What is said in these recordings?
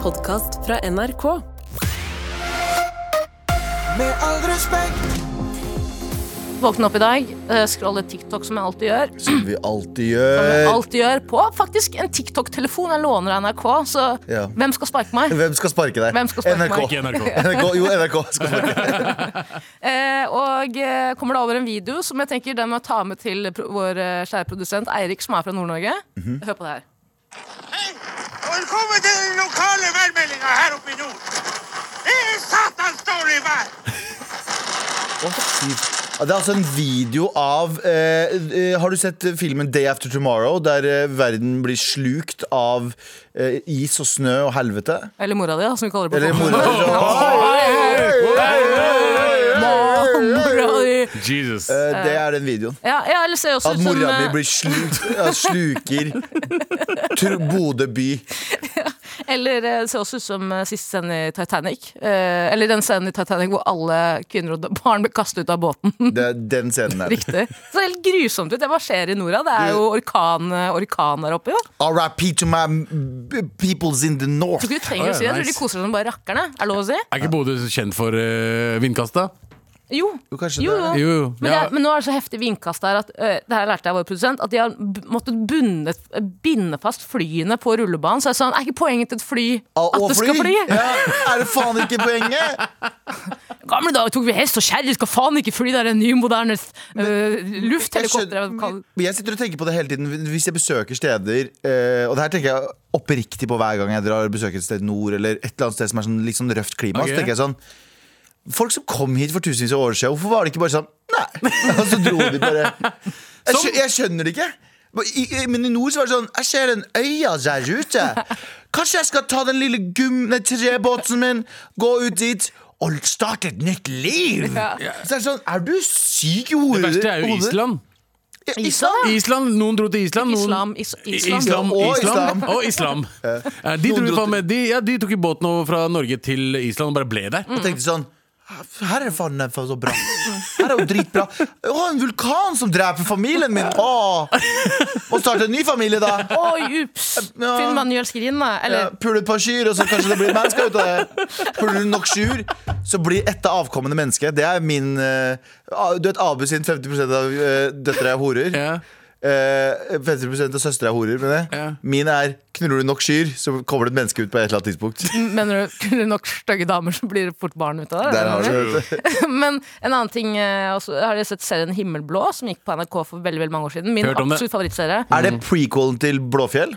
podkast fra NRK. Med all respekt, Våkne opp i dag, eh, scrolle TikTok som jeg alltid gjør. Som vi alltid Som gjør. jeg alltid gjør På faktisk en TikTok-telefon jeg låner av NRK, så Ja. hvem skal sparke meg? Hvem skal sparke deg? Hvem skal sparke NRK. meg? Ikke NRK. NRK. Jo, NRK skal sparke deg. Eh, og eh, kommer det over en video som jeg tenker den må jeg ta med til pro vår eh, kjære produsent Eirik, som er fra Nord-Norge. Mhm. Hør på det her. Hei, og velkommen til den lokale værmeldinga her oppe i nord. Det er satans dårlig vær! Ja, Det er altså en video av eh, eh, Har du sett filmen Day After Tomorrow? Der eh, verden blir slukt av eh, is og snø og helvete? Eller mora di, da, som vi kaller det Eller på sånn. mora Mora di. Jesus. Eh, Det er den videoen. Ja, ja, eller ser også At ut som mora mi eh, blir slukt, ja, sluker Tr- Bodø by. Eller eh, det ser også ut som eh, siste scenen i Titanic. Eh, eller den scenen i Titanic hvor alle kvinner og barn ble kastet ut av båten. Det er den scenen der. Riktig. Så det er helt grusomt ut. Det hva skjer i Norda? Det er jo orkan, orkan der oppe, jo. Jeg RIP to my b- peoples in the north. tror ikke du trenger å si det. Jeg tror de Nice. koser seg som bare rakkerne. Er det lov å si? Er ikke Bodø kjent for eh, vindkast, da? Jo. Jo, kanskje Jo, det er jo. det. Jo, jo. Men, det Ja. er, men nå er det så heftig vindkast der at øh, Det her lærte jeg vår produsent At de har b- måttet bundet, binde fast flyene på rullebanen Så jeg sa, er ikke poenget til et fly Ah, At og det skal fly? fly. Ja, er det faen ikke poenget? Gamle dager tok vi hest og kjærlighet Skal faen ikke fly, det er en ny moderne øh, Lufthelikopter Jeg jeg skjønner- kaller- Men Jeg sitter og tenker på det hele tiden Hvis jeg besøker steder eh, Og det her tenker jeg oppriktig på hver gang jeg drar og besøker et sted i nord Eller et eller annet sted som er sånn, litt sånn røft klima Ok. Så tenker jeg sånn Folk som kom hit for tusenvis av år siden Hvorfor var det ikke bare sånn Nei Og så dro de bare Jeg, skjø, jeg skjønner det ikke Men i, i- Men i nord så var det sånn Jeg ser en øya der ute Kanskje jeg skal ta den lille gum nei, trebåten min Gå ut dit og starte et nytt liv Så er det sånn, er du syk i hodet? Det verste er jo hodet? Island. Ja, Island? Island, Noen dro til Island. Noen... Islam, is, islam. Ja, Islam, og Islam islam. og Islam. Eh, De, Noen dro dro faen meg- de, ja, de tok jo båten over fra Norge til Island og bare ble der. Og tenkte sånn her er det faen meg så bra. Her er jo dritbra. Å, en vulkan som dreper familien min! Å. Og starte en ny familie, da. Oi, ups Ja. Finn manuel skrine Ja, Eller Puler et par kyr, og så kanskje det blir et menneske ut av det. Puler du nok kyr, så blir ett av avkommende menneske. Det er min eh, ah, Du vet Abu sin 50 av eh, døtre er horer. Ja. Eh, 50 av søstre er horer. Men det. Ja. Min er knuller du nok kyr, så kommer det et menneske ut på et eller annet tidspunkt. Mm. Mener du kunne nok støgge damer som blir det fort barn ut av det? Der har du Mm. det. Men en annen ting eh, også, Har dere sett serien Himmelblå, som gikk på NRK for veldig, veldig mange år siden? Min Hørt om det. absolutt favorittserie. Er det prequelen til Blåfjell?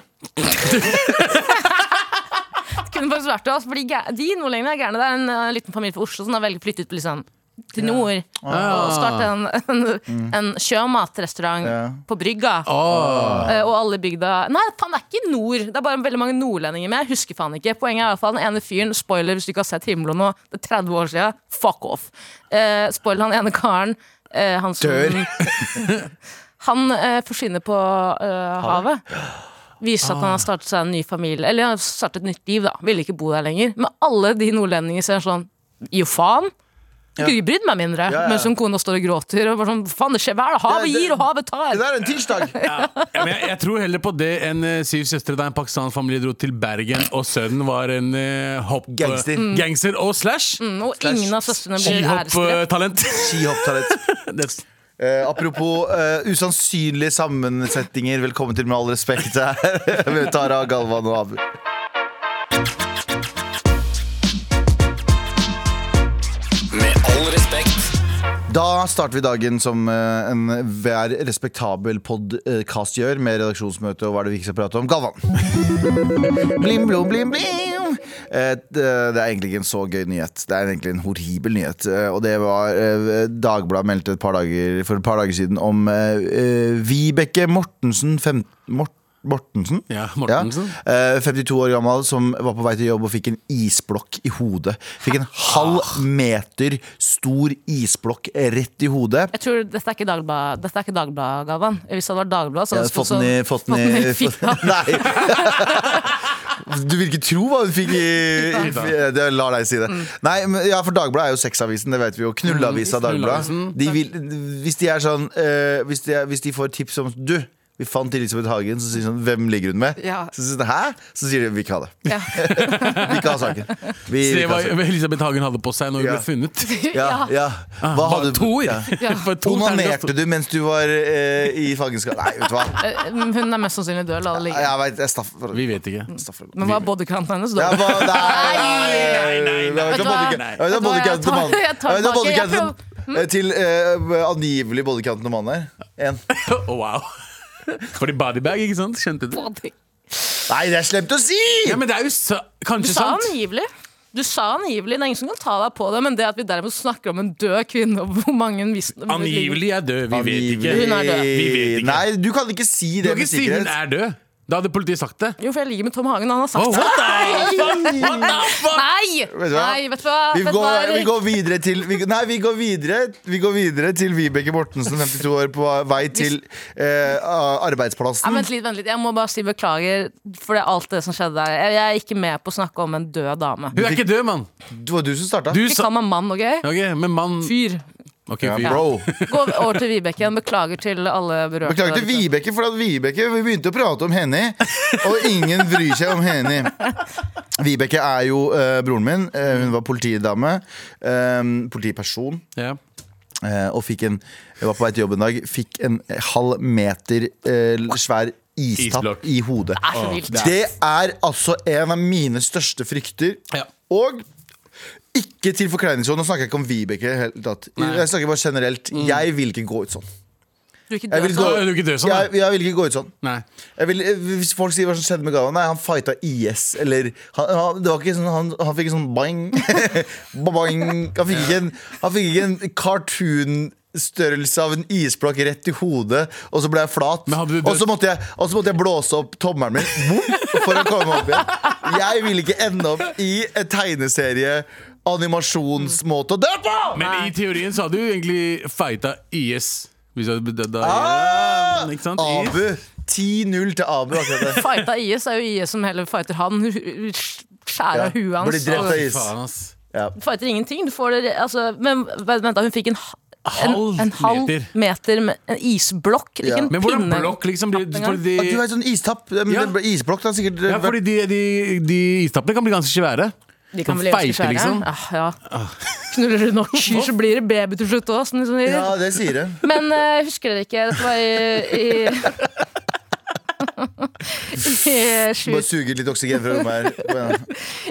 Det kunne faktisk vært det, altså, fordi gæ- De nordlendingene er gærne. Det er en eh, liten familie fra Oslo som har veldig flyttet liksom, til nord. Og startet en, en, en sjømatrestaurant Ja. på Brygga. Åh. Eh, Og alle i bygda Nei, faen, det er ikke nord! Det er bare veldig mange nordlendinger med. Jeg husker faen ikke. Poenget er i hvert fall den ene fyren Spoiler hvis du ikke har sett Himmelblå nå. Det er 30 år siden. Fuck off. Eh, spoiler han ene karen. eh, han som Dør. Han eh, forsvinner på eh, havet. Viser at han har startet seg en ny familie Eller han har startet et nytt liv, da. Ville ikke bo der lenger. Men alle de nordlendinger ser sånn Jo, faen! Jeg kunne ikke brydd meg mindre. ja. Mens hun kona står og gråter. Og bare sånn, faen, det skjer hver dag. Havet Ja, det- gir, og havet tar. Det der er en tirsdag! Ja, men jeg, jeg tror heller på det enn eh, Syv søstre da en pakistansk familie dro til Bergen, og sønnen var en eh, hopp... Gangster. Gangster og slash. Mm, og ingen av søstrene blir æresdrept. Skihopptalent. Skihopptalent. Det- Eh, apropos eh, usannsynlige sammensetninger, velkommen til Med all respekt her med Tara, Galvan og Abu. med all respekt, Da starter vi dagen som eh, en hver respektabel podkast gjør, med redaksjonsmøte og hva er det vi ikke skal prate om. Galvan! Blim, blom, blim, blim! Eh, det- det er egentlig ikke en så gøy nyhet. Det er egentlig en horribel nyhet. eh, og det var eh, Dagbladet meldte et par dager, for et par dager siden om eh, eh, Vibeke Mortensen fem, Mort, Mortensen? Ja, Mortensen. Ja. Eh, 52 år gammel som var på vei til jobb og fikk en isblokk i hodet. Fikk en halv Ah. meter stor isblokk rett i hodet. Jeg tror Dette er ikke Dagbladet, Dette er ikke Dagbladet, Galvan. Hvis det hadde vært Dagbladet, så Jeg hadde hadde det stått fått den i, sånn- fått den fitta. i Nei. Du vil ikke tro hva hun fikk i, i, i det lar deg si det. Nei, men, ja, for Dagbladet er jo sexavisen, det vet vi jo. Knulleavisa Dagbladet. Knulleavisen. De vil, hvis de er sånn eh, hvis, de er, hvis de får tips om Du, Vi fant Elisabeth Hagen, som sier sånn Hvem ligger hun med? Ja. Så sier hun, Hæ? Så sier de vi ikke ha det. Ja. Vi ikke ha saken. Vi, vi Se ikke hva ha saken. Elisabeth Hagen hadde på seg når hun Ja. ble funnet. Ja, ja. Hva Ah, Bare hadde to, Ja. Ja. For to terningkast. Onanerte du mens du var eh, i fangenskap? Nei, vet du hva. Eh, Hun er mest sannsynlig død, la det ligge. Jeg vet, jeg staff... Vi vet ikke. staffer det godt. Men hva er bodycounten hennes? Jeg da? var- Nei, nei, nei, Eh, nei, nei. Vet Jeg vet ikke du om hva? bodycount- jeg vet ikke om Vet du hva? Jeg bodycounten til tar- mannen jeg tar Jeg vet ikke om tilbake. Jeg bodycounten Mm. eh, Til eh, angivelig bodycounten til mannen her. En. Oh, wow. Fordi bodybag, ikke sant? Skjønte du? Body- Nei, det er slemt å si! Ja, men det er jo sa Du kanskje sa sant. angivelig. Du sa angivelig. Det er ingen som kan ta deg på det, men det at vi derimot snakker om en død kvinne og hvor mange vis- Angivelig er død. Vi vet ikke. Angivelig. Hun er død. Vi vet ikke. Nei, du kan ikke si Du det kan med ikke si hun sikkerhet. er død. Da hadde politiet sagt det. Jo, for jeg ligger med Tom Hagen, han har Oh, sagt det. what the what the fuck? Nei! du hva? Nei, vet du hva? Vi Vet du går, hva, Erik? vi går videre til vi, Nei, vi går videre Vi går videre til Vibeke Mortensen, 52 år, på vei til eh, Nei, arbeidsplassen. vent litt, vent litt. Jeg må bare si beklager for det, alt det som skjedde der. Jeg, jeg er ikke med på å snakke om en død dame. Hun er ikke død, mann. Det var du som starta. Du Ikke sa kall meg mann, OK? Ok, men mann Fyr. Ok, Ja, fyr. bro. Gå over til Vibeke igjen. Beklager til alle berørte. Beklager til Vibeke, for at Vibeke vi begynte å prate om henne, og ingen bryr seg om henne. Vibeke er jo eh, broren min. Eh, hun var politidame. eh, politiperson. Ja. eh, og fikk en Jeg var på vei til jobb en dag, fikk en halv meter eh, svær Isblokk. istapp i hodet. Det er så vilt. Det er altså en av mine største frykter. Ja. Og ikke til forkleinelse, og nå snakker jeg ikke om Vibeke. i det hele Tatt. Jeg snakker bare generelt. Jeg vil ikke gå ut sånn. Du er ikke Jeg død, vil sånn. gå, Mm. er du ikke død sånn, da? jeg, jeg vil ikke gå ut sånn. Nei. Jeg vil, hvis folk sier hva som skjedde med Galvan Nei, han fighta IS Eller han, han, det var ikke sånn, han, han fikk en sånn boing, boing. Han, fikk ikke en, han fikk ikke en cartoon Størrelse av en isblokk rett i hodet Og så ble jeg flat Men hadde du dødd- og så, måtte jeg, og så måtte jeg blåse opp tommeren min boom, For å komme opp igjen Jeg vil ikke ende opp i en tegneserie Animasjonsmåte å dø på Men i teorien så hadde du egentlig fighta IS. Hvis du hadde blitt dødd av Ah! IS. Ikke sant? IS. Abu 10-0 til Abu akkurat det Fighta IS er jo IS som heller fighter han. Hun- hun Skjærer Ja, av huet blir hans. drept av og IS. Faen, ass. ja. Fighter ingenting. Du får det altså, Men vent, vent da, hun fikk en, ha- Halv en, en halv meter. meter, med en isblokk. Ikke Ja. en Men hvordan pinne. blokk, liksom? Blir, Knapp fordi At du de, er sånn istapp men Ja. det ble- Isblokk da sikkert ja, fordi de, de, de istappene kan bli ganske svære. De kan Sånn bli ganske feite, svære. liksom. Ah, Ja, ja. Knuller du nok kyr, så blir det baby til slutt òg. Sånn, sånn. Ja, det sier det Men eh, husker dere ikke Dette var i, i I sju- Bare suger litt oksygen fra rommet her.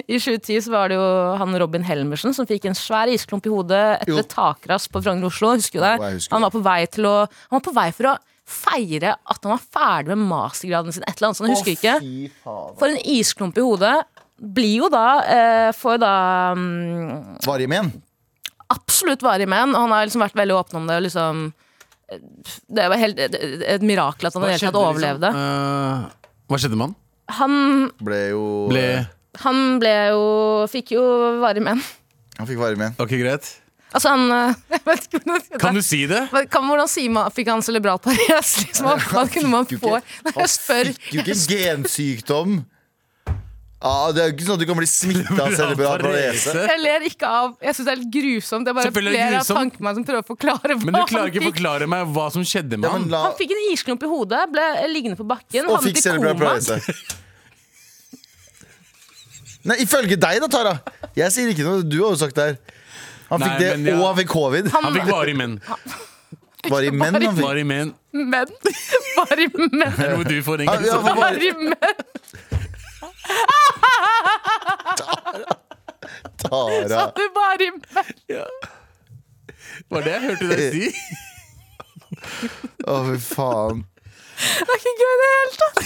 i 2010 så var det jo han Robin Helmersen som fikk en svær isklump i hodet etter Jo. et takras på Frogner Oslo. Husker du Jo, jeg det? husker Han det. var på vei til å Han var på vei for å feire at han var ferdig med mastergraden sin. Et eller annet sånt, jeg husker ikke. For en isklump i hodet blir jo da eh, Får da mm, Var igjen? absolutt varig men, og han har liksom vært veldig åpen om det. og Liksom, det var helt, et, et mirakel at han i det hele tatt overlevde. liksom? Eh, hva skjedde med han? Han, Ble jo eh, Ble han ble jo Fikk jo varig men. Han fikk varig men. Ok, greit. Altså, han eh, Jeg vet ikke hvordan jeg skal Kan du si det? Men kan, hvordan sier man Fikk han cerebral pares? Liksom, hva- hva kunne man Fikk jo få ikke- Nei, han jeg spør. Fikk jo ikke gensykdom. Ah, det er jo ikke sånn at du kan bli smitta av cerebral parese. Jeg ler ikke av Jeg syns det er litt grusomt. Jeg bare Selvfølgelig er det ler av grusomt. tanken meg som prøver å forklare hva Men du klarer ikke han fikk. forklare meg hva som skjedde med Ja, men han. la- Han fikk en isklump i hodet, ble liggende på bakken, og havnet fikk i cerebral koma. parese. Nei, ifølge deg da, Tara. Jeg sier ikke noe. Du har jo sagt det her. Han fikk Nei, det, men jeg- og han fikk covid. Han fikk varig men. Varig men. Han fikk. Varig men. Men Bare men. Det er noe du får, Ja, Ingrid. ja, for Bare varig- men. Tara. At det var i Var det jeg hørte deg si? Å, fy faen. Det er ikke gøy i det hele tatt!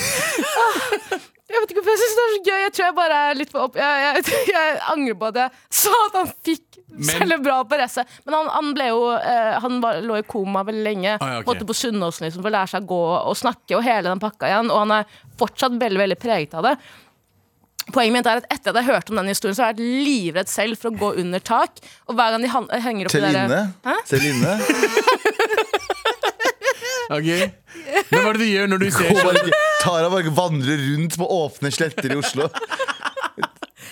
Åh, Jeg vet ikke hvorfor jeg syns det er så gøy. Jeg tror jeg bare er litt for opp... Jeg, jeg, jeg angrer på at jeg sa at han fikk cerebral parese. Men han, han ble jo eh, Han var, lå i koma veldig lenge. Ah, ja, ok. Måtte på Sunnaas liksom, for å lære seg å gå og snakke og hele den pakka igjen. Og han er fortsatt veldig, veldig preget av det. Poenget mitt er at Etter at jeg hørte om den historien, så har jeg vært livredd selv for å gå under tak. Og hver gang de han- henger opp Selv det der- inne? Selv inne? Ok Men hva er det du gjør når du ser Hun sånn? bare, Tara bare vandrer rundt på åpne sletter i Oslo.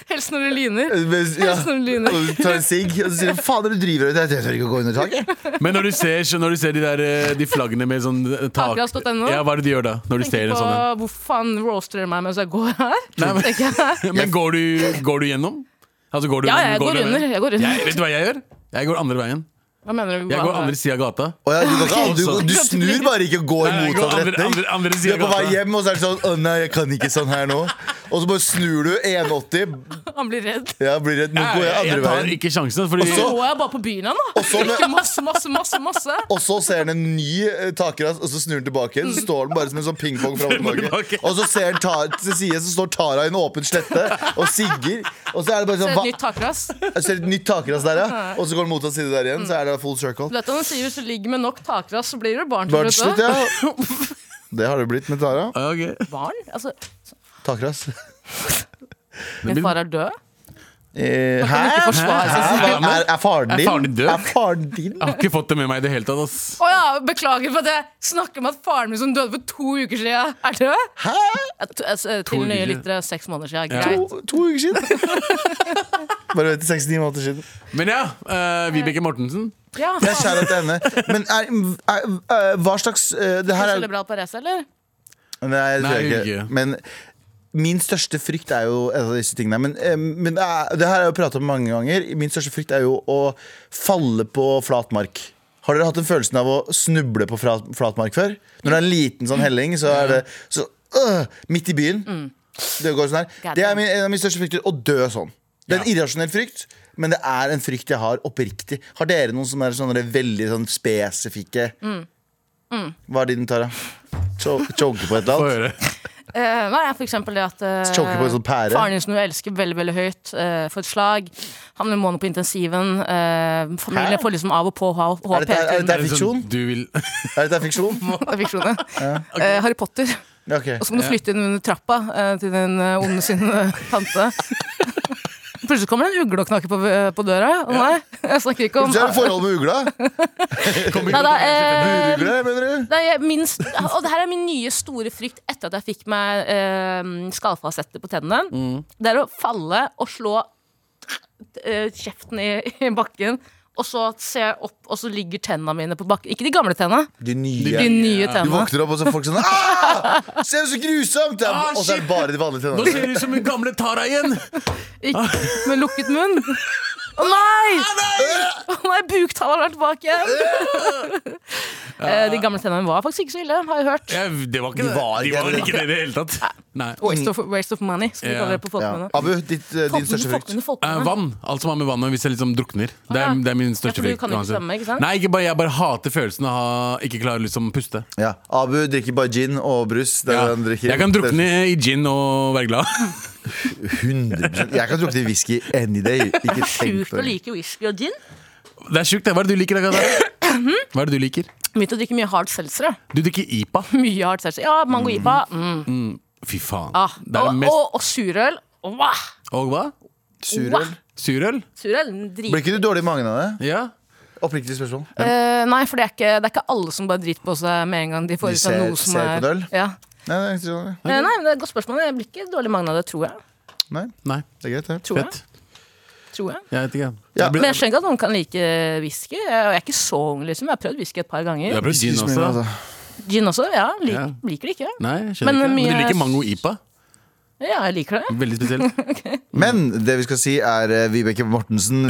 Helst når det lyner. Mens- Ja. Helst når det lyner. Og tar en sigg og så sier de, fader, du driver ut. Jeg tør ikke å gå under taket. Men når du ser, så når du ser de, der, eh, de flaggene med sånn eh, tak Takrass.no? Ja, Hva er det de gjør da? Når du ser Tenker en på sånn en? hvor faen roaster dere meg mens jeg går her? Nei, men- Tenker jeg. Men går du, går du gjennom? Altså, går du, Ja, jeg går du- under. Jeg går under. Jeg, vet du hva jeg gjør? Jeg går andre veien. Hva mener du? Jeg går andre sida av gata. Og jeg, du, kan, du, du snur bare ikke og går i Nei, jeg går motsatt andre- retning. andre- andre Du siden er på av vei gata. hjem, og så er det sånn Å nei, jeg kan ikke sånn her nå. Og så bare snur du 180. Han blir redd. Ja, blir redd. Nå går jeg Eh, jeg andre tar veien. ikke sjansen, fordi Så går jeg bare på byen igjen, da. så med- Drikker masse, masse, masse. masse Og så ser han en ny eh, takrass, og så snur han tilbake. igjen, Så står han bare som en sånn pingpong fram og tilbake. Tilbake. Og så ser han tar, til side, så står Tara i en åpen slette og sigger. Og så er det bare Så sånn et hva? nytt takrass. Du Jeg ser et nytt takrass der, ja. Og så går han motsatt side der igjen. Så er det full circle. vet at han sier hvis du ligger med nok takrass, så blir du barn til Bare til slutt. da. slutt, ja. Det har det blitt med Tara. Ok. Barn? Altså, Takrass. min far er død. Eh, Kan ikke Hæ? forsvare seg Hæ? selv. Hva- Er, er faren din? Er faren din død? Er faren din? Jeg har ikke fått det med meg i det hele tatt. ass Å ja, beklager for at jeg snakker om at faren min som døde for to uker siden, er død. Hæ? Ja, to- altså, Til uker nye siden. lyttere, seks måneder siden. Ja. Greit. To, to uker siden. Bare vent til 69 måneder siden. Men ja, eh, Vibeke Mortensen. Ja, Jeg er faen. kjære til henne. Men er, er, er, hva slags eh, Det her Hun er spiller bra på race, eller? Nei, det tror Nei, jeg ikke. ikke. Men min største frykt er jo en av disse tingene. Men, eh, men det, er, det her har jeg jo pratet om mange ganger. Min største frykt er jo å falle på flat mark. Har dere hatt den følelsen av å snuble på flat, flat mark før? Når det er en liten sånn helling, så er det så, øh, midt i byen. Det går sånn her. Det er min, en av mine største frykter. Å dø sånn. Det er en irrasjonell frykt, men det er en frykt jeg har oppriktig. Har dere noen sånne, sånne veldig sånn spesifikke Hva er din, Tara? Cho- Choke på et eller Få annet? høre. Eh, nei, for eksempel det at eh, Choker på en sånn pære. Faren din som du elsker veldig veldig høyt, eh, får et slag. Han blir måned på intensiven. eh, familien Hæ? får liksom av og på ha- Er HP dette- er til dette- fiksjon? du vil Er dette fiksjon? fiksjonen. Eh, Harry Potter. Ja, ok. Og så må du flytte inn under trappa eh, til den eh, onde sin eh, tante. Plutselig kommer det en ugle og knakker på, eh, på døra. Å nei, jeg snakker ikke om Så er det forhold med ugla. Nei, da, eh, Ugle, mener du? Nei, jeg- min, st- og det her er min nye store frykt etter at jeg fikk meg eh, skallfasetter på tennene. Mm. Det er å falle og slå eh, kjeften i, i bakken, og så ser jeg opp, og så ligger tennene mine på bakken. Ikke de gamle tennene, de De nye. nye Du tennene. våkner opp, og så er folk sånn «Ah! Se så grusomt! Det Ah, er- Og så er det shit! bare de vanlige Nå tennene. ser du ut som den gamle Tara igjen! Ikke- Med lukket munn. Å nei! Å nei, buktaleren er tilbake igjen! Eh, de gamle tennene var faktisk ikke så ille, har jeg hørt. Ja, det var ikke De det. var De ikke var det. ikke det i det hele tatt. Nei. Waste of, waste of money, skal vi Ja. kalle det på Ja. folkemunne. Abu, ditt, eh, din største Folkemunne, frykt. folkemunne, Eh, folkemunne. vann. Alt som har med vann å gjøre, hvis jeg liksom drukner. Det er, det er min Ja, største for du frykt. kan ikke uansett. svømme, ikke sant? Nei, ikke bare, jeg bare hater følelsen av å ha- ikke klare å liksom puste. Ja. Abu drikker bare gin og brus. Det er Ja. det han drikker. Jeg kan drukne i gin og være glad. 100%. Jeg kan drukne i whisky any day. Ikke tenk Sjukt på å det. like whisky og gin. Det er sjukt. det. Hva er det du liker? da, Katar? Hva er det du liker? Begynte å drikke mye hard seltzer. jeg. Du drikker IPA. Mye hard seltzer. Ja, mango-ipa. Mm. Fy faen. Ah. Det er det Og, mest og, og surøl. Wah! Og hva? Surøl. Surøl? Surøl den Blir driter ikke du dårlig i magen av det? Ja. Oppriktig spørsmål. Eh, Nei, for det er, ikke, det er ikke alle som bare driter på seg med en gang de får i seg ser- noe som ser er på det, Ja. Nei, det er ikke sånn. Eh, Nei, men det er et godt spørsmål. Jeg blir ikke dårlig i magen av det, tror jeg. Nei, Nei. det er greit, det. Tror jeg. Fett. Tror jeg. Jeg vet ikke. Ja. Jeg ble- Men jeg skjønner ikke at noen kan like whisky. Jeg jeg er ikke så ung, liksom. Jeg har prøvd whisky et par Jeg ganger. har prøvd gin Excuse me, også. altså. Gin også. Ja, lik, Ja. liker det ikke. Nei, jeg Men, eh, skjønner ikke. Men mye- du liker mango IPA? Ja, jeg liker det. Veldig spesielt. Men det vi skal si er eh, Vibeke Mortensen,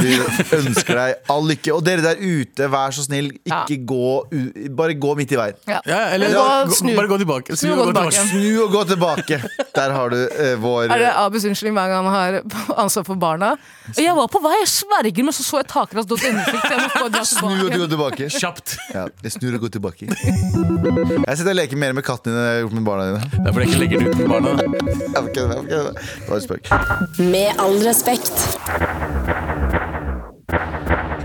vi ønsker deg all lykke. Og dere der ute, vær så snill, ikke gå u Bare gå midt i veien. Ja. Ja, eller Gå- gå, snu. bare gå tilbake. Snu og gå tilbake. Snu og gå tilbake. Der har du eh, vår Er det Abus unnskyldning hver gang han har ansvar for barna? Jeg var på vei, jeg sverger, men så så jeg takras.no. Snu og gå tilbake. Kjapt. Det Ja, det snur og går tilbake. Jeg sitter og leker mer med kattene dine enn jeg har gjort med barna dine. er fordi jeg ikke legger det ut med barna. Jeg var ikke- jeg var ikke- Det var en spøk. Med all respekt.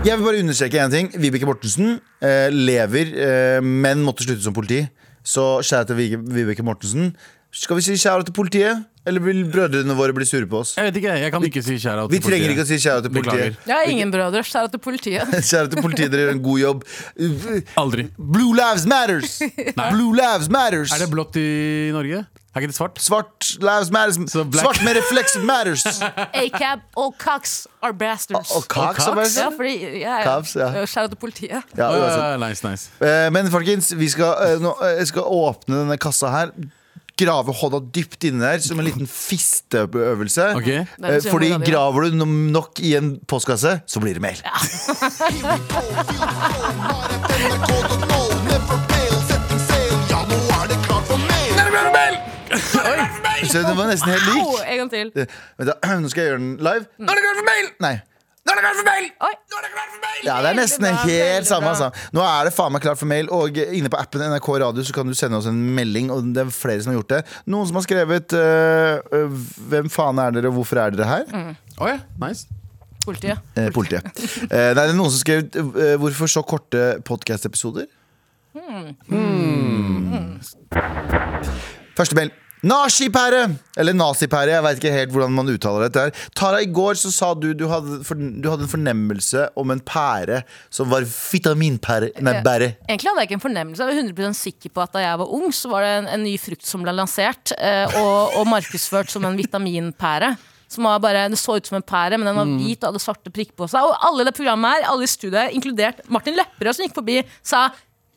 Jeg vil bare understreke én ting. Vibeke Mortensen eh, lever, eh, men måtte slutte som politi. Så kjære til Vige- Vibeke Mortensen. Skal vi si kjære til politiet? Eller vil brødrene våre bli sure på oss? Jeg vet ikke, jeg kan ikke si kjære Vi trenger ikke å si kjære til politiet. Beklager. Jeg har ingen brødre, så er det til politiet. Kjære til politiet, dere gjør en god jobb. Aldri. Blue lives matters! Blue lives matters! Er det blått i Norge? Er ikke det svart? Svart lives matters. Så black- Svart med refleksiv matters! A-cab og Cox are bastards. Og kaks, Og Ja, altså. fordi jeg er Cops, ja. Kjære til politiet. Ja, uansett. Ah, nice, nice. Eh, Men folkens, vi skal, eh, nå, eh, jeg skal åpne denne kassa her. Grave hånda dypt inni der som en liten fisteøvelse. Ok. Det er Eh, det som Fordi er det, ja. graver du no- nok i en postkasse, så blir det mer. Så det var nesten helt Au! lik. En gang til. Eh, Vent da, Nå skal jeg gjøre den live. Nå er det klart for mail! Nei. Nå er det klart for mail! Oi. Nå er det klart for mail! Ja, det er nesten Veldig bra, helt veldig samme. bra. Altså. Nå er det faen meg klart for mail, og inne på appen NRK Radio så kan du sende oss en melding, og det er flere som har gjort det. Noen som har skrevet eh, eh, 'Hvem faen er dere, og hvorfor er dere her?' Å ja, nice. Politiet. Eh, politiet. Eh, nei, det er noen som skrev eh, 'Hvorfor så korte podkast-episoder?' Hmm. Første mail. Nazipære! Eller nazipære, jeg veit ikke helt hvordan man uttaler dette. her Tara, i går så sa du du hadde, forn- du hadde en fornemmelse om en pære som var vitaminpære. Nei, Ja. bære. Egentlig hadde jeg ikke en fornemmelse. Jeg var 100 sikker på at da jeg var ung, så var det en, en ny frukt som ble lansert eh, og, og markedsført som en vitaminpære. Som var bare, Det så ut som en pære, men den var Mm. hvit og hadde svarte prikker på seg. Og alle i det programmet her, alle i studiet, inkludert Martin Lepperød, som gikk forbi, sa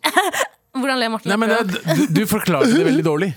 Hvordan ler Martin Nei, men Lepperød? det, du, du forklarte det veldig dårlig.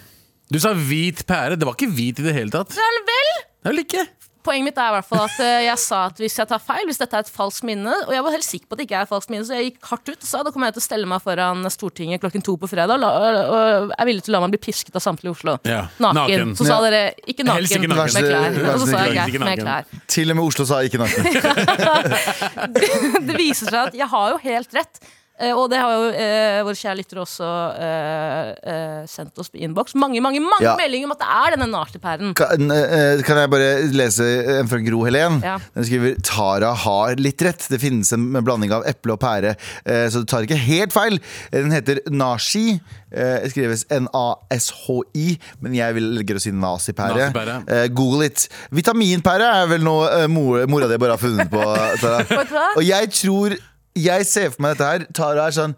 Du sa hvit pære. Det var ikke hvit i det hele tatt. Vel, vel! Det er vel ikke Poenget mitt er i hvert fall at eh, jeg sa at hvis jeg tar feil, hvis dette er et falskt minne, og jeg var helt sikker på at det ikke er et falskt minne, så jeg gikk hardt ut og sa da kommer jeg til å stelle meg foran Stortinget klokken to på fredag og, la, og, og er villig til å la meg bli pisket av samtlige i Oslo. Ja, Naken. naken. Så sa dere ikke naken, Helst ikke naken. med klær. Vær så- Og så sa jeg vær så greit snill, med ikke klær. Til og med Oslo sa ikke naken. Det viser seg at jeg har jo helt rett. eh, Og det har jo eh, våre kjære lyttere også eh, eh, sendt oss på innboks. Mange mange, mange Ja. meldinger om at det er denne nachspielen. Kan, eh, kan jeg bare lese en fra Gro Helen? Ja. Den skriver Tara har litt rett. Det finnes en blanding av eple og pære, eh, så du tar ikke helt feil. Den heter Nashi. eh, Skrives N-A-S-H-I, men jeg vil legge å si nazipære. Nazipære. Eh, Google it. Vitaminpære er vel noe eh, mor- mora di bare har funnet på. Vet du Tara. hva? Og jeg tror Jeg ser for meg dette her. Tara er sånn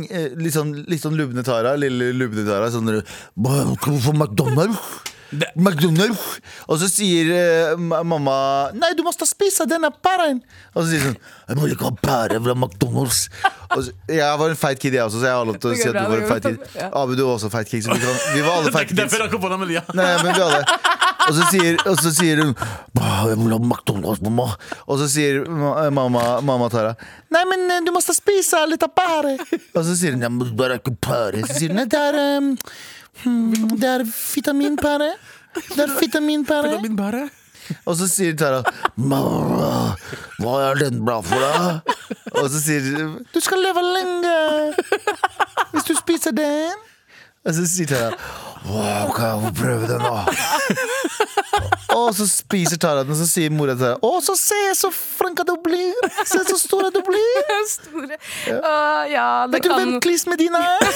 eh, Litt sånn, litt sånn lubne Tara. Lille lubne Tara. Sånn «Hva, Skal du få McDonald's? McDonald's. Og så sier eh, ma- mamma Nei, du må spise denne pæren. Og så sier hun sånn Jeg må ikke ha pære fra McDonald's. Og så, jeg var en feit kid, jeg også, så jeg har lov til å Det går si at du bra, var det en går feit bra. kid. Ja. Abu, du var også feit kid. Så vi, kan, vi var alle Det er feite ikke kids. derfor jeg kom på det, men ja. Nei, men vi hadde og så, sier, og så sier hun «Bah, Jeg vil ha McDonald's, mamma Og så sier ma- eh, mamma, mamma Tara Nei, men eh, du må spise litt av pære Og så sier hun «Ja, men Det er ikke pære Så sier hun «Nei, Det er, em, hmm, det er vitaminpære Det er vitaminpære Min pære. og så sier Tara «Mamma, Hva er den bra for da? Og så sier hun Du skal leve lenge Hvis du spiser den Og så sier Tara Wow, kan jeg få prøve den da? Og så spiser Tara den Og så sier mora til Tara Å, så se så flinka du blir Se så stor du blir Store. Å, ja, det Vet du hvem kan Chris Medina er?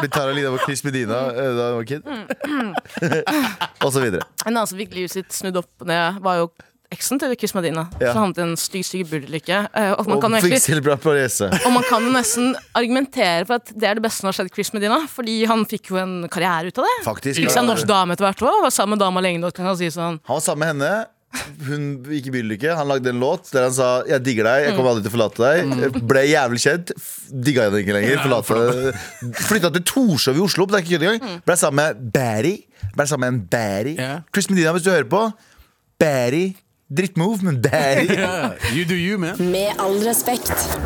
Blir Tara Lina på Chris Medina eh, Da hun var kid Mm. Og så videre En annen som fikk livet sitt snudd opp ned, var jo eksen til Chris Medina. Ja. Så havnet i en stygg, stygg burdulykke. Eh, Og, man Og kan jo fikk egentlig- selv bra på rese og man kan jo nesten argumentere for at det er det beste som har skjedd Chris Medina, fordi han fikk jo en karriere ut av det. Faktisk Fikk seg en norsk dame etter hvert også, var sammen med dama lenge nok til å si sånn Han var sammen med henne. Hun gikk i bilulykke. Han lagde en låt der han sa 'Jeg digger deg, jeg kommer aldri til å forlate Mm. deg'. Ble jævlig kjent. F- Digga henne ikke lenger. Forlate Flytta til Torshov i Oslo. Det er ikke kødd engang. Ble sammen med Barry. Ble sammen med en Barry. Mm. Ja. Chris Medina, hvis du hører på. Barry. Drittmove, men Barry. Ja, You do you, man. Med all respekt.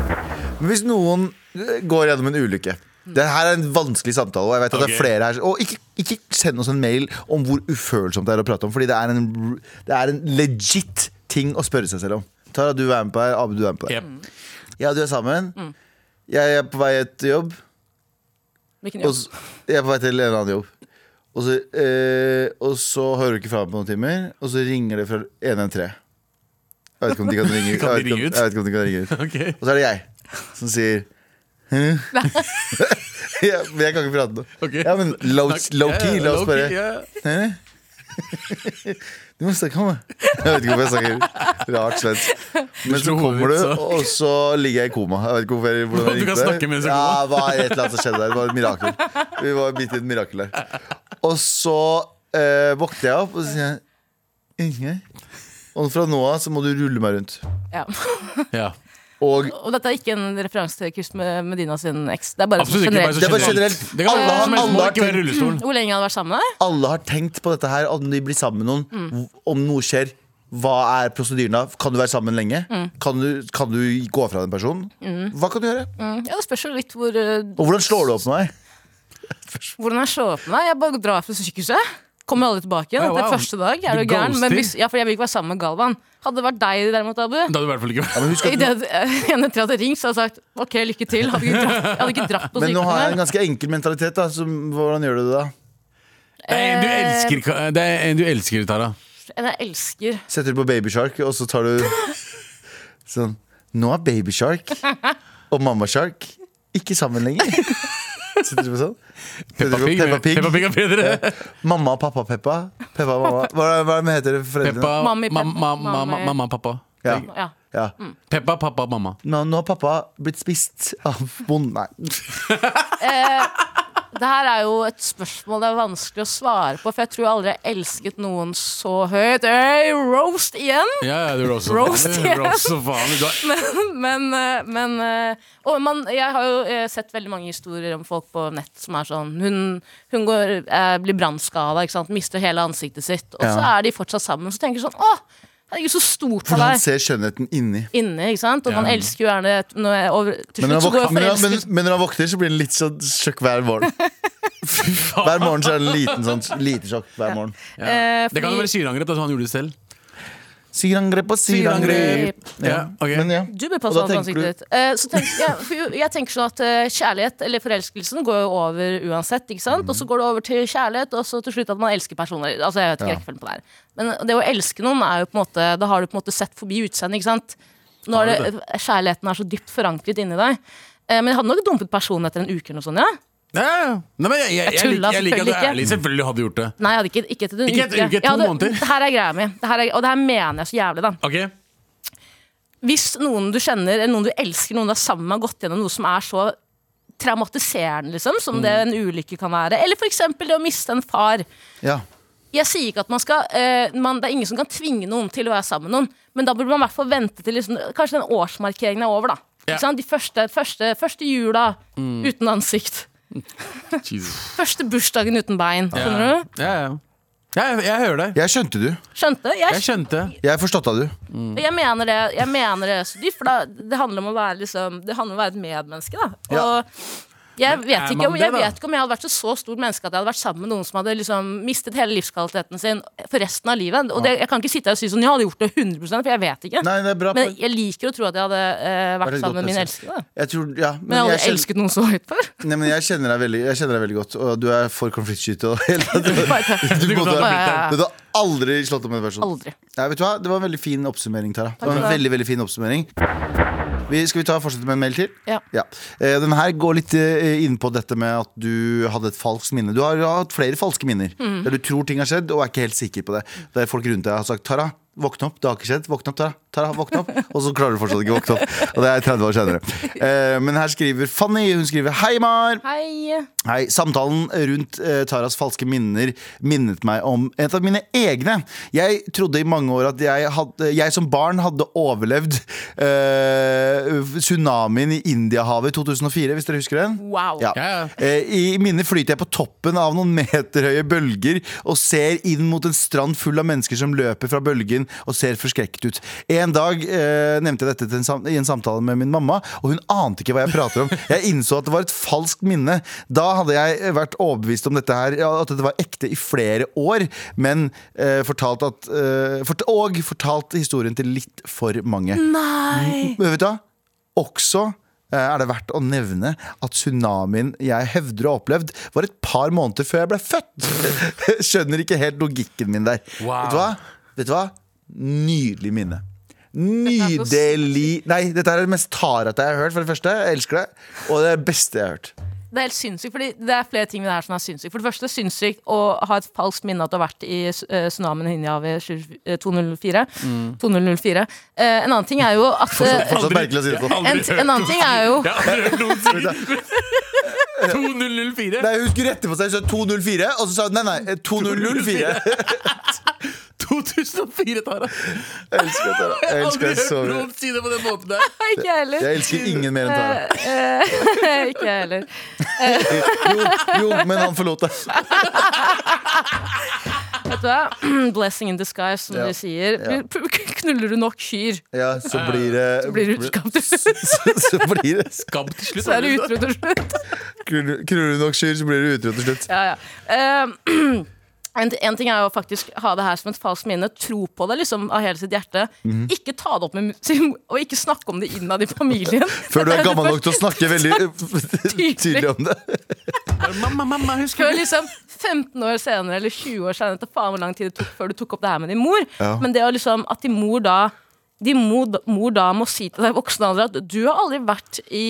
Men hvis noen eh, går gjennom en ulykke det her er en vanskelig samtale. Og jeg vet at det Ok. er flere her Og ikke, ikke send oss en mail om hvor ufølsomt det er å prate om, Fordi det er en, det er en legit ting å spørre seg selv om. Tara, du er med på det her. Abu, du er med på det. Yep. Ja, du er sammen. Jeg er på vei til jobb. Hvilken Og jobb? så, jeg er på vei til en annen jobb. Og så, eh, og så hører du ikke fra meg på noen timer, og så ringer det fra 113. Jeg vet ikke om de kan ringe, Kan de jeg vet ikke om- ringe ut? Jeg vet ikke om de kan ringe ut. Ok. Og så er det jeg som sier «Hæ?» ja, Men jeg kan ikke prate nå. Ok. Ja, men low, low key, la oss Low key, bare ja. «Hæ?» Du må snakke om det. Jeg vet ikke hvorfor jeg snakker rart svensk. Men så slo kommer hodet du, ditt, så. og så ligger jeg i koma. Jeg vet ikke hvorfor jeg, hvordan jeg Du kan gikk der. snakke mens jeg er i ja, koma. det var et eller annet som skjedde der. Det var et mirakel. Vi var midt i et mirakel der. Og så eh, våkner jeg opp, og så sier jeg Inge. Og fra nå av så må du rulle meg rundt. Ja. Ja. Og Og dette er ikke en referanse til Chris Medina sin eks. Det er bare Absolutt ikke. Bare generelt. så Det er bare generelt. Det kan Alle være har- hvem som helst, alle må har ikke være tenkt- rullestolen. Hvor lenge jeg hadde vært sammen med deg? alle har tenkt på dette her, om de blir sammen med Mm. noen, om noe skjer. Hva er prosedyren da? Kan du være sammen lenge? Kan, du, kan du gå fra den personen? Hva kan du gjøre? Mm. Mm, Ja, det spørs jo litt hvor, eh, Og hvordan slår du opp med meg? hvordan jeg slår opp med deg. Jeg bare drar fra sykehuset. Kommer aldri tilbake igjen Oi, etter wow. første dag. Er Du du gæren? Men ghoster. hvis, ja, for jeg vil ikke være sammen med Galvan. Hadde det vært deg derimot, Abu Da hadde du i hvert fall ikke Ja, men, husk I at, det at eh, en etter at jeg ringt, så hadde jeg sagt OK, lykke til. Hadde ikke dratt, jeg hadde ikke dratt på men nå har jeg en sykehuset. ganske enkel mentalitet, da. Så hvordan gjør du det da? Det er en du elsker, Ka- det er en du elsker Tara. En jeg elsker. Setter du på Baby Shark, og så tar du sånn Nå er Baby Shark og Mamma Shark ikke sammen lenger. Setter du på sånn? Setter Peppa du på Peppa Pig. Pig. Peppa Pig er bedre. Mamma og pappa Peppa. Peppa og mamma. Hva, er- hva er det heter det foreldrene? Peppa, Mami, ma- Peppa, ma- ma- Mami. mamma, pappa. Ja. Ja. ja. Peppa, pappa, mamma. Nå, nå har pappa blitt spist av bonden. Nei. Det her er jo et spørsmål det er vanskelig å svare på, for jeg tror jeg aldri har elsket noen så høyt. Hey, roast igjen! Ja, ja, du roast. Roast, yes. Roast så faen. Du har- Men, eh, men eh, og man, jeg har jo eh, sett veldig mange historier om folk på nett som er sånn Hun, hun går, eh, blir brannskada, ikke sant? mister hele ansiktet sitt, og så Ja. er de fortsatt sammen. Så tenker jeg sånn Å, herregud, så stort For av han deg! ser skjønnheten inni. Inne, ikke sant? Og man Ja. elsker jo gjerne et- når jeg, og Til Men slutt når, han så går våkner, jeg men, når- men, forelsket men når han våkner, så blir han litt sånn sjokk hver morgen. Hver morgen så er det en liten sånn lite sjokk. hver morgen eh, Det kan jo fordi- være syreangrep, altså han gjorde det selv. Syrangrep og syrangrep. Ja, ok. Men ja. Du bør Og passe da deg på tenker du- ansiktet ditt. Eh, så tenk, ja, for jo- jeg tenker sånn at eh, kjærlighet, eller forelskelsen, går jo over uansett. ikke sant? Og så går det over til kjærlighet, og så til slutt at man elsker personer. Altså, jeg vet ikke rekkefølgen på det her. Men det å elske noen er jo på en måte Da har du på en måte sett forbi utseendet, ikke sant? Nå er det, eh, kjærligheten er så dypt forankret inni deg. Eh, men jeg hadde nok dumpet personen etter en uke eller noe sånt, ja. Ja, ja. Nei, men jeg, jeg, jeg, Jeg tullet liker- jeg liker at du er selvfølgelig ærlig. Selvfølgelig hadde du gjort det. Nei, jeg hadde ikke, ikke etter en Ikke etter en uke, Jeg to hadde- måneder. Det her er greia mi, det her er, og det her mener jeg så jævlig, da. Ok, hvis noen du kjenner, eller noen du elsker, noen du er sammen med, har gått gjennom noe som er så traumatiserende, liksom, som Mm. det en ulykke kan være, eller f.eks. det å miste en far. ja. Jeg sier ikke at man skal eh, man, Det er ingen som kan tvinge noen til å være sammen med noen, men da burde man i hvert fall vente til liksom, kanskje den årsmarkeringen er over, da. Ja. Mm. Ikke sant? De første, første, første jula uten ansikt. Jesus. Første bursdagen uten bein. Skjønner Ja, du? ja. ja. Jeg, jeg hører deg. Jeg skjønte du. Skjønte? Jeg, Jeg skjønte. Jeg forstått av du. jeg, mener det, jeg mener det så dypt, for da, det handler om å være, liksom, det handler om å være et medmenneske. Da. Ja. Og jeg er vet, ikke om, man det, jeg da? vet ikke om jeg hadde vært et så stort menneske at jeg hadde vært sammen med noen som hadde liksom mistet hele livskvaliteten sin for resten av livet. Og det, jeg kan ikke sitte her og si sånn, jeg hadde gjort det 100 for jeg vet ikke. Nei, det er bra. Men jeg liker å tro at jeg hadde eh, vært Vært et godt sammen med min menneske. elskede. da. Jeg tror, ja, men, Men jeg hadde jeg, kjen- elsket noen så høyt før. nei, men jeg, kjenner deg veldig, jeg kjenner deg veldig godt, og du er for konfliktskyte. Og hele, du, Du kan ta måtte- det blitt Ja, der. ja, ja. du har aldri slått opp med en person. Aldri. Nei, vet du hva? Det var en veldig fin oppsummering, Tara. Det var en for det. veldig, veldig fin oppsummering vi, Skal vi ta fortsette med en mail til? Ja. Eh, Den her går litt eh, inn på dette med at du hadde et falskt minne. Du har jo hatt flere falske minner der du tror ting har skjedd og er ikke helt sikker på det. Der folk rundt deg har sagt 'Tara, våkne opp, det har ikke skjedd'. Våkne opp, Tara. Tara, våkne opp. Og så klarer du fortsatt ikke å våkne opp. Og det er 30 år senere. Eh, Men her skriver Fanny. Hun skriver 'Hei, Mar'. Hei. Hei, Samtalen rundt eh, Taras falske minner minnet meg om et av mine egne. Jeg trodde i mange år at jeg, hadde, jeg som barn hadde overlevd eh, tsunamien i Indiahavet i 2004, hvis dere husker den? Wow. Ja. Ja, ja. Eh, I minnet flyter jeg på toppen av noen meterhøye bølger og ser inn mot en strand full av mennesker som løper fra bølgen og ser forskrekket ut. En dag eh, nevnte jeg dette til en sam i en samtale med min mamma, og hun ante ikke hva jeg prater om. Jeg innså at det var et falskt minne. Da hadde jeg eh, vært overbevist om dette her, ja, at dette var ekte i flere år, men eh, fortalt at eh, fort Og fortalt historien til litt for mange. Nei. Men vet du hva? Også eh, er det verdt å nevne at tsunamien jeg hevder å ha opplevd, var et par måneder før jeg ble født. Skjønner ikke helt logikken min der. Wow. Vet du hva? Vet du hva? Nydelig minne. Nydelig Nei, dette er det mest tarete jeg har hørt. for det første Jeg elsker det. Og det er det beste jeg har hørt. Det er helt sinnssykt, fordi det er flere ting med det her som er sinnssykt. For det første, sinnssykt å ha et falskt minne at du har vært i eh, tsunamien i Hinjahavet i 20- 2004. 2004. Eh, en annen ting er jo at eh, Mm. Fortsatt merkelig å si det sånn. en, en annen ting er jo Jeg har aldri hørt noen si 2004. Nei, Hun skulle rette på seg, så 204, og så sa hun nei, eh, nei, 2004. 2004, Tara. Jeg elsker det, Tara. Jeg Jeg har elsker aldri det så hørt mye. noen si det på den måten der. Ikke jeg heller. Jeg elsker ingen mer enn Tara. Eh, Ikke jeg heller. Jo, jo men han forlot deg. Vet du hva? Blessing in disguise, som Ja. de sier. Ja. Knuller du nok kyr, Ja, så blir det blir du utskapt til slutt. Så blir det Skam til slutt. Så er du altså. utro til slutt. Knuller du nok skyr, så blir du utro til slutt. ja, ja. Ehm, en, en ting er jo faktisk ha det her som et falskt minne, tro på det liksom av hele sitt hjerte. Mhm. Ikke ta det opp med sin, og ikke snakke om det innad i familien. Før du er Dette gammel det nok til å snakke veldig Tydelig. tydelig om det. Mamma, mamma, første- husker Før du? liksom 15 år senere eller 20 år senere, ta faen hvor lang tid det tok før du tok opp det her med din mor. Ja. Men det å liksom at din mor da Din mor, mor da må si til deg i voksen alder at du har aldri vært i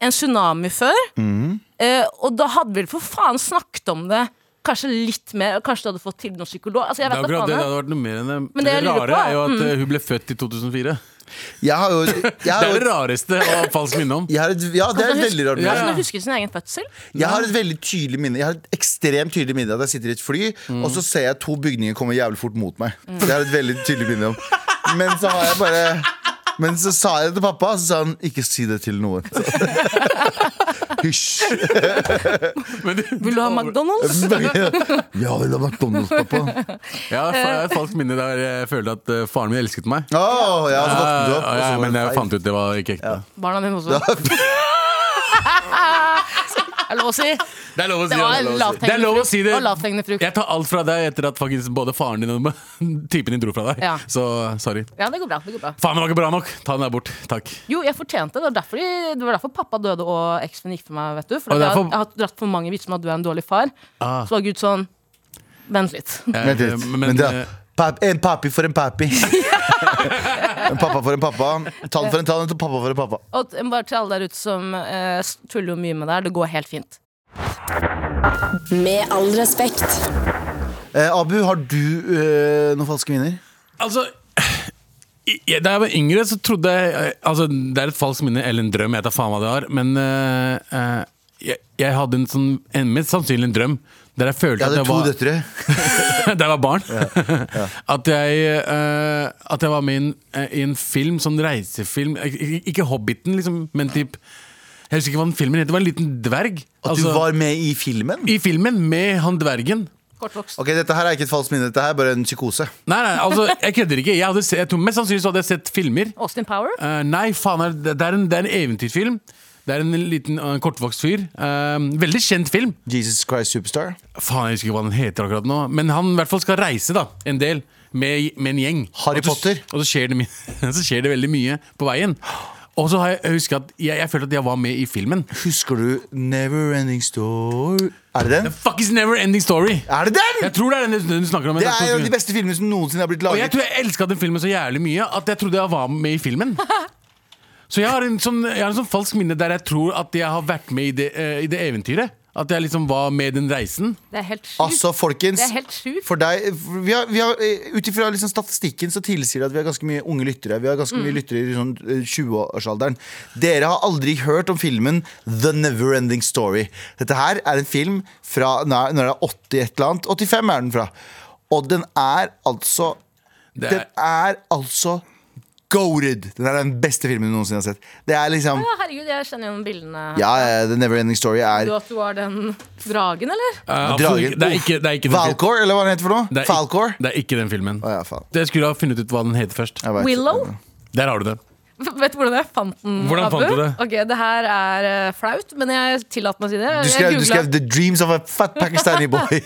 en tsunami før. Mhm. Eh, og da hadde vi for faen snakket om det. Kanskje litt mer, kanskje du hadde fått til noen psykolog. Altså, jeg Det vet er da akkurat faen, det. Det jeg. hadde vært noe mer enn det. Men det, det jeg lurer på, mm. rare er jo at eh, hun ble født i 2004. Jeg har jo jeg Det har, er det jo- rareste å ha falskt minne om. jeg har et, Ja, det er Altså, et veldig rart. Ja. minne. Hun husker sin egen fødsel. Jeg har et veldig tydelig minne Jeg har et ekstremt tydelig minne at jeg sitter i et fly, og så ser jeg to bygninger komme jævlig fort mot meg. Det har jeg et veldig tydelig minne om. Men så har jeg bare Men så sa jeg det til pappa, og så sa han ikke si det til noen. Hysj. Men, Vil du ha McDonald's? Ja, vil du ha McDonald's, pappa? Ja, fa- Eh. jeg har et falskt minne der jeg føler at eh, faren min elsket meg. Å, ja, så våknet du opp. Ja, og ja, så var men det jeg feil. fant ut det var ikke ekte. Barna dine også. Er det lov å si? Det er lov å si Det var det er lov å si. Det er lov å si lavthengende det. frukt. Og lavthengende frukt. Jeg tar alt fra deg etter at faktisk både faren din og typen din dro fra deg. Ja. Så sorry. Ja, det går bra. det går bra Faen, det var ikke bra nok. Ta den der bort. Takk. Jo, jeg fortjente det. Det var derfor, de- det var derfor pappa døde og eksmenn gikk for meg. vet du For Og jeg, har- derfor- jeg har dratt for mange vitser om at du er en dårlig far. Ah. Så var Gud sånn Vent litt. Vent litt. Eh, Men da, eh, pap, en papi for en papi. en pappa for en pappa. Tann for en tann, og pappa for en pappa. Og t- bare til alle der ute som eh, s- tuller jo mye med det her, det går helt fint. Med all respekt. Eh, Abu, har du eh, noen falske minner? Altså i- jeg- da jeg var yngre, så trodde jeg eh, Altså, det er et falskt minne eller en drøm, jeg tar faen hva det var, men eh, eh, jeg, jeg hadde en sånn en, Mest sannsynlig en drøm der jeg følte Jeg at hadde jeg to var døtre. da jeg var barn. At, jeg, eh, at jeg var med i en, eh, i en film, sånn reisefilm Ik ik- Ikke Hobbiten, liksom, men typ Jeg husker ikke hva den filmen het. Det var en liten dverg. At Altså, du var med i filmen? I filmen med han dvergen. Kortvokst. Ok, Dette her er ikke et falskt minne, dette her er bare en psykose. Nei, nei, altså, jeg kødder ikke. Jeg hadde se, jeg tror, mest sannsynlig så hadde jeg sett filmer. Austin Power. Eh, nei, faen, er det, det, er en, det er en eventyrfilm. Det er en liten eh, kortvokst fyr. Eh, veldig kjent film. Jesus Christ Superstar. Faen, jeg husker ikke hva den heter akkurat nå. Men han i hvert fall skal reise da, en del med, med en gjeng. Harry Og så- Potter. Og så skjer, det, my- så skjer det veldig mye på veien. Og så har jeg, jeg husker at jeg, jeg følte at jeg var med i filmen. Husker du Never Ending Story? Er det den? Fuck is never ending story! Er det den?! Jeg tror det er den du- du snakker om. men Det jeg er tror en av de ikke- beste filmene som noensinne har blitt Og jeg laget. tror jeg elska den filmen så jævlig mye at jeg trodde jeg var med i filmen. Så jeg har en sånn, jeg har en sånn falsk minne der jeg tror at jeg har vært med i det, eh, i det eventyret. At jeg liksom var med i den reisen. Det er helt sjukt. Altså, folkens. det er helt sjukt. For deg, for vi har, vi har, eh, ut ifra liksom statistikken så tilsier det at vi har ganske mye unge lyttere. Vi har ganske Mm. mye lyttere i sånn eh, 20-årsalderen. Dere har aldri hørt om filmen The Neverending Story. Dette her er en film fra når når det er 80 et eller annet. 85 er den fra. Og den er altså Det Den er er, altså goated! Den er den beste filmen du noensinne har sett. Det er liksom Ja, herregud, jeg kjenner igjen bildene. Ja, ja, The Neverending Story Du er at du var den dragen, eller? eh, dragen. absolutt ikke- det er ikke, det er ikke den fil- Valcor, eller hva den heter for det noe? er Falcor? ikke- Det er ikke den filmen. Å ja, faen. Jeg skulle ha funnet ut hva den heter først. Jeg vet ikke. Willow? Der har du det. Vet du hvordan jeg fant den? Hvordan fant Abu? du det? Ok, Det her er eh, flaut, men jeg tillater meg å si det. Du skrev, jeg du skrev googlet 'The Dreams of a Fat Pakistani Boy'.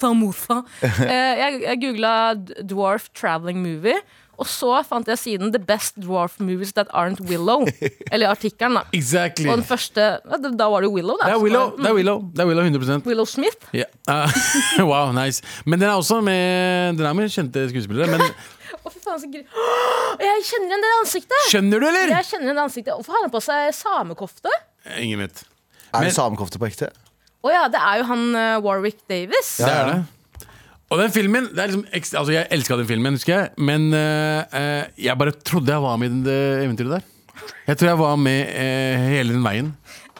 Tamufa. Eh, jeg jeg googla d- 'Dwarf Traveling Movie', og så fant jeg siden 'The Best Dwarf Movies That Aren't Willow'. Eller artikkelen, da. Exactly. Og den Det første ja, da- Da var det jo Willow, da. er som Willow. var- Det er Willow, det er Willow 100 Willow Smith. Ja. Eh, Wow, nice. Men den er også med, den er med kjente skuespillere. Men Å, fy faen, så gr... Åh, Jeg kjenner igjen det ansiktet! skjønner du, eller? Jeg kjenner igjen det ansiktet Hvorfor har han på seg samekofte? Ingen vet. Er Men- det samekofte på ekte? Å ja, det er jo han eh, Warwick Davis. Det er det. Og den filmen det er liksom, ekst- altså Jeg elska den filmen, husker jeg. Men eh, eh, jeg bare trodde jeg var med i det eventyret der. Jeg tror jeg var med eh, hele den veien.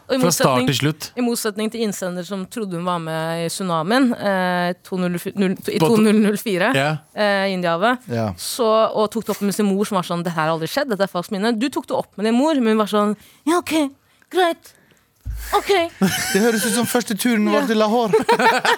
Og i Fra start motsetning- til slutt. I motsetning til innsender som trodde hun var med i tsunamien eh, 2004 null- i På- 2004 Ja. eh, i Indiahavet, Ja. Så- og tok det opp med sin mor, som var sånn 'Dette har aldri skjedd, dette er falskt minne'. Du tok det opp med din mor, men hun var sånn 'Ja, ok, greit'. Ok, Det høres ut som første turen vår til Lahore.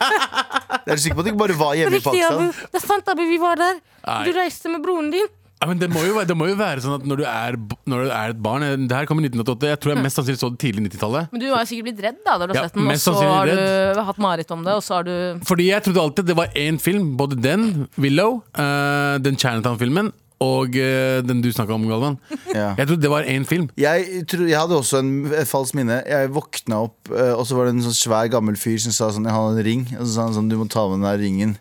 Er du sikker på at det ikke bare var hjemme i riktig, Abu. Pakistan? Det er sant, Abu, vi var der. Nei. Du reiste med broren din. Ja, men det må, jo være, det må jo være sånn at når du er, b- når du er et barn eh, Det her kom i 1988. Jeg tror jeg mest sannsynlig så det tidlig 90-tallet. Men du har jo sikkert blitt redd da, da du har Ja, sett den, og mest så har sannsynlig du hatt mareritt om det, og så har du Fordi jeg trodde alltid det var én film. Både den, Willow, eh, den Chinatown-filmen og eh, den du snakka om, Galvan. Ja. Jeg trodde det var én film. Jeg, tror, jeg hadde også en, et falskt minne. Jeg våkna opp, eh, og så var det en sånn svær gammel fyr som sa sånn Jeg hadde en ring. Og så sa han sånn Du må ta med den her ringen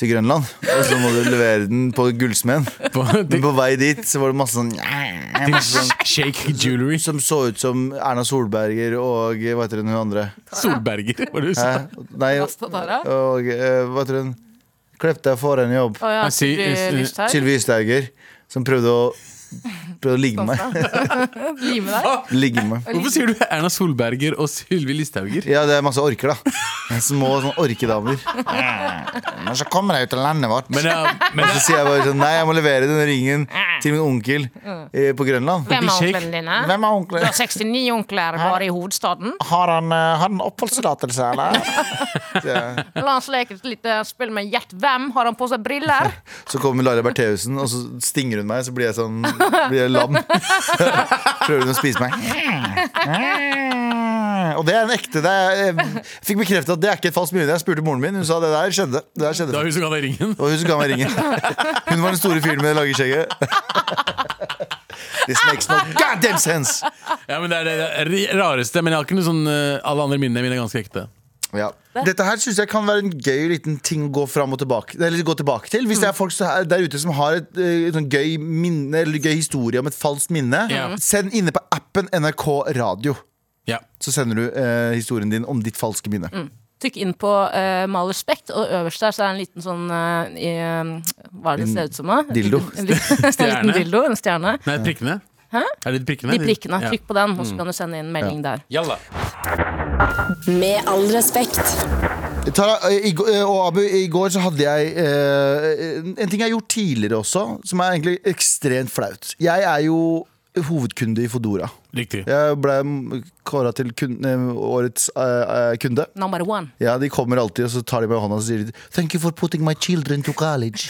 til Grønland. Og så må du levere den på gullsmeden. På, Men til, på vei dit så var det masse sånn "Njæ", masse sånn Shake Jewelry. som så ut som Erna Solberger og eh, hva heter hun andre? Solberger, var det du sa. Hæ? Nei, Rasta Tara? og eh, hva heter hun? Klepp deg for en jobb. Å ja, Jeg sier- Sylvi jeg- Lysthaug. Sylvi Ystauger, som prøvde å Prøvde å ligge meg. Lime deg. ligge meg. Hvorfor sier du Erna Solberger og Sylvi Listhauger? Ja, det er masse orker, da. Små sånn orkedamer. Men så kommer jeg ut av landet vårt. Men, ja, men så sier jeg bare sånn Nei, jeg må levere den ringen til min onkel eh, på Grønland. Hvem er onklene Shake. onklene dine? Hvem er onkelen? 69 onkler bare i hovedstaden. Har han, eh, har han oppholdstillatelse, eller? Så, jeg- La oss leke et lite spill med gjett hvem. Har han på seg briller? så kommer Laila Bertheussen, og så stinger hun meg, så blir jeg sånn Blir jeg lam. Prøver hun å spise meg. Og det er en ekte det er, Jeg fikk bekreftet at det er ikke et falskt minne. Jeg spurte moren min, hun sa det der skjedde. Det der skjedde da har hun som ga deg ringen. Det var hun som ga meg ringen. Hun var den store fyren med det lange skjegget. This makes no goddamn sense! Ja, men det er det er det rareste, men jeg har ikke noe sånn eh, Alle andre minnene mine er ganske ekte. Ja. Dette her synes jeg kan være en gøy liten ting å gå, fram og tilbake, eller gå tilbake til. Hvis det er folk så her- der ute som har et, eh, et sånn gøy minne Eller gøy historie om et falskt minne, Ja. send inne på appen NRK Radio. Ja. Så sender du eh, historien din om ditt falske minne. Trykk inn på uh, Mal respekt, og øverst der så er det en liten sånn eh, i, eh, Hva er det det ser ut som? da? dildo. En liten, en liten Stjerne. dildo, en stjerne. Nei, prikkene. Hæ? Er det de prikkene? De prikkene. Ja. Trykk på den, Mm. og så kan du sende inn melding der. Jalla. Med all respekt. Tara eh, i, går- eh, og Abu, i går så hadde jeg eh, en ting jeg har gjort tidligere også, som er egentlig ekstremt flaut. Jeg er jo hovedkunde i Fodora. Riktig. Jeg ble kåra til kun- eh, årets eh, eh, kunde. Number one. Ja, De kommer alltid og så tar de meg i hånda og så sier de, Thank you for putting my children to college.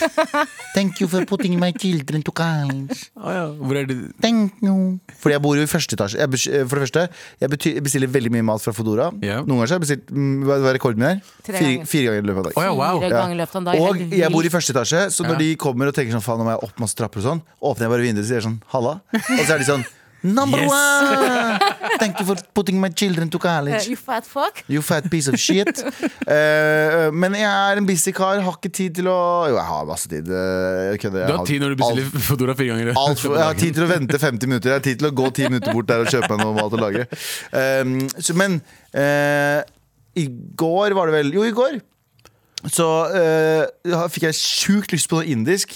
Thank you for putting my children to college. Å ja. Hvor er de? Thank you. Fordi jeg bor jo i første etasje. Jeg, bes- eh, for det første, jeg bety- jeg bestiller veldig mye mat fra Fodora. Ja. Noen ganger så har jeg bestilt mm, hva hva er rekorden min her? Tre Fire, ganger. fire ganger i løpet av dagen. Å ja, wow. Fire Ja. ganger i løpet av en dag. Og Helt jeg bor i vilt. første etasje, så når Ja. de kommer og tenker sånn Faen, nå må jeg opp masse trapper og sånn, åpner jeg bare vinduet og sier sånn halla. Og så er de sånn Number Yes. one! Thank you for putting my children to Eh, college. You fat fuck. You fat piece of shit. Eh, men jeg er en busy kar, har ikke tid til å Jo, jeg har masse tid. eh, Jeg kødder. Du har tid når du bestiller Fodora fire ganger. i Alt for, jeg har dagen. tid til å vente 50 minutter. Jeg har tid til å gå 10 minutter bort der og kjøpe meg noe mat å lage. Um, så, men eh, i går var det vel Jo, i går så eh, ha- fikk jeg sjukt lyst på noe indisk.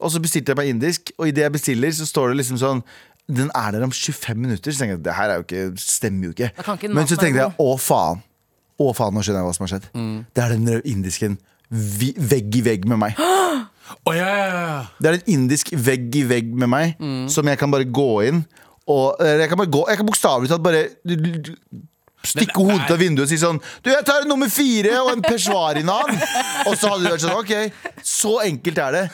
Og så bestilte jeg meg indisk, og idet jeg bestiller, så står det liksom sånn Den er der om 25 minutter. Så tenkte jeg det her er jo ikke, stemmer jo ikke. Da kan ikke den Men så maten tenkte være Mm. jeg å faen. Å faen, nå skjønner jeg hva som har skjedd. Det er den indisken vi, vegg i vegg med meg. Å ja, ja, ja. Det er en indisk vegg i vegg med meg, som jeg kan bare gå inn og eller Jeg kan bare gå Jeg kan bokstavelig talt bare l- l- Den stikke er- hodet ut av vinduet og si sånn Du, jeg tar en nummer fire og en peshwari-nan! og så hadde du vært sånn OK, så enkelt er det.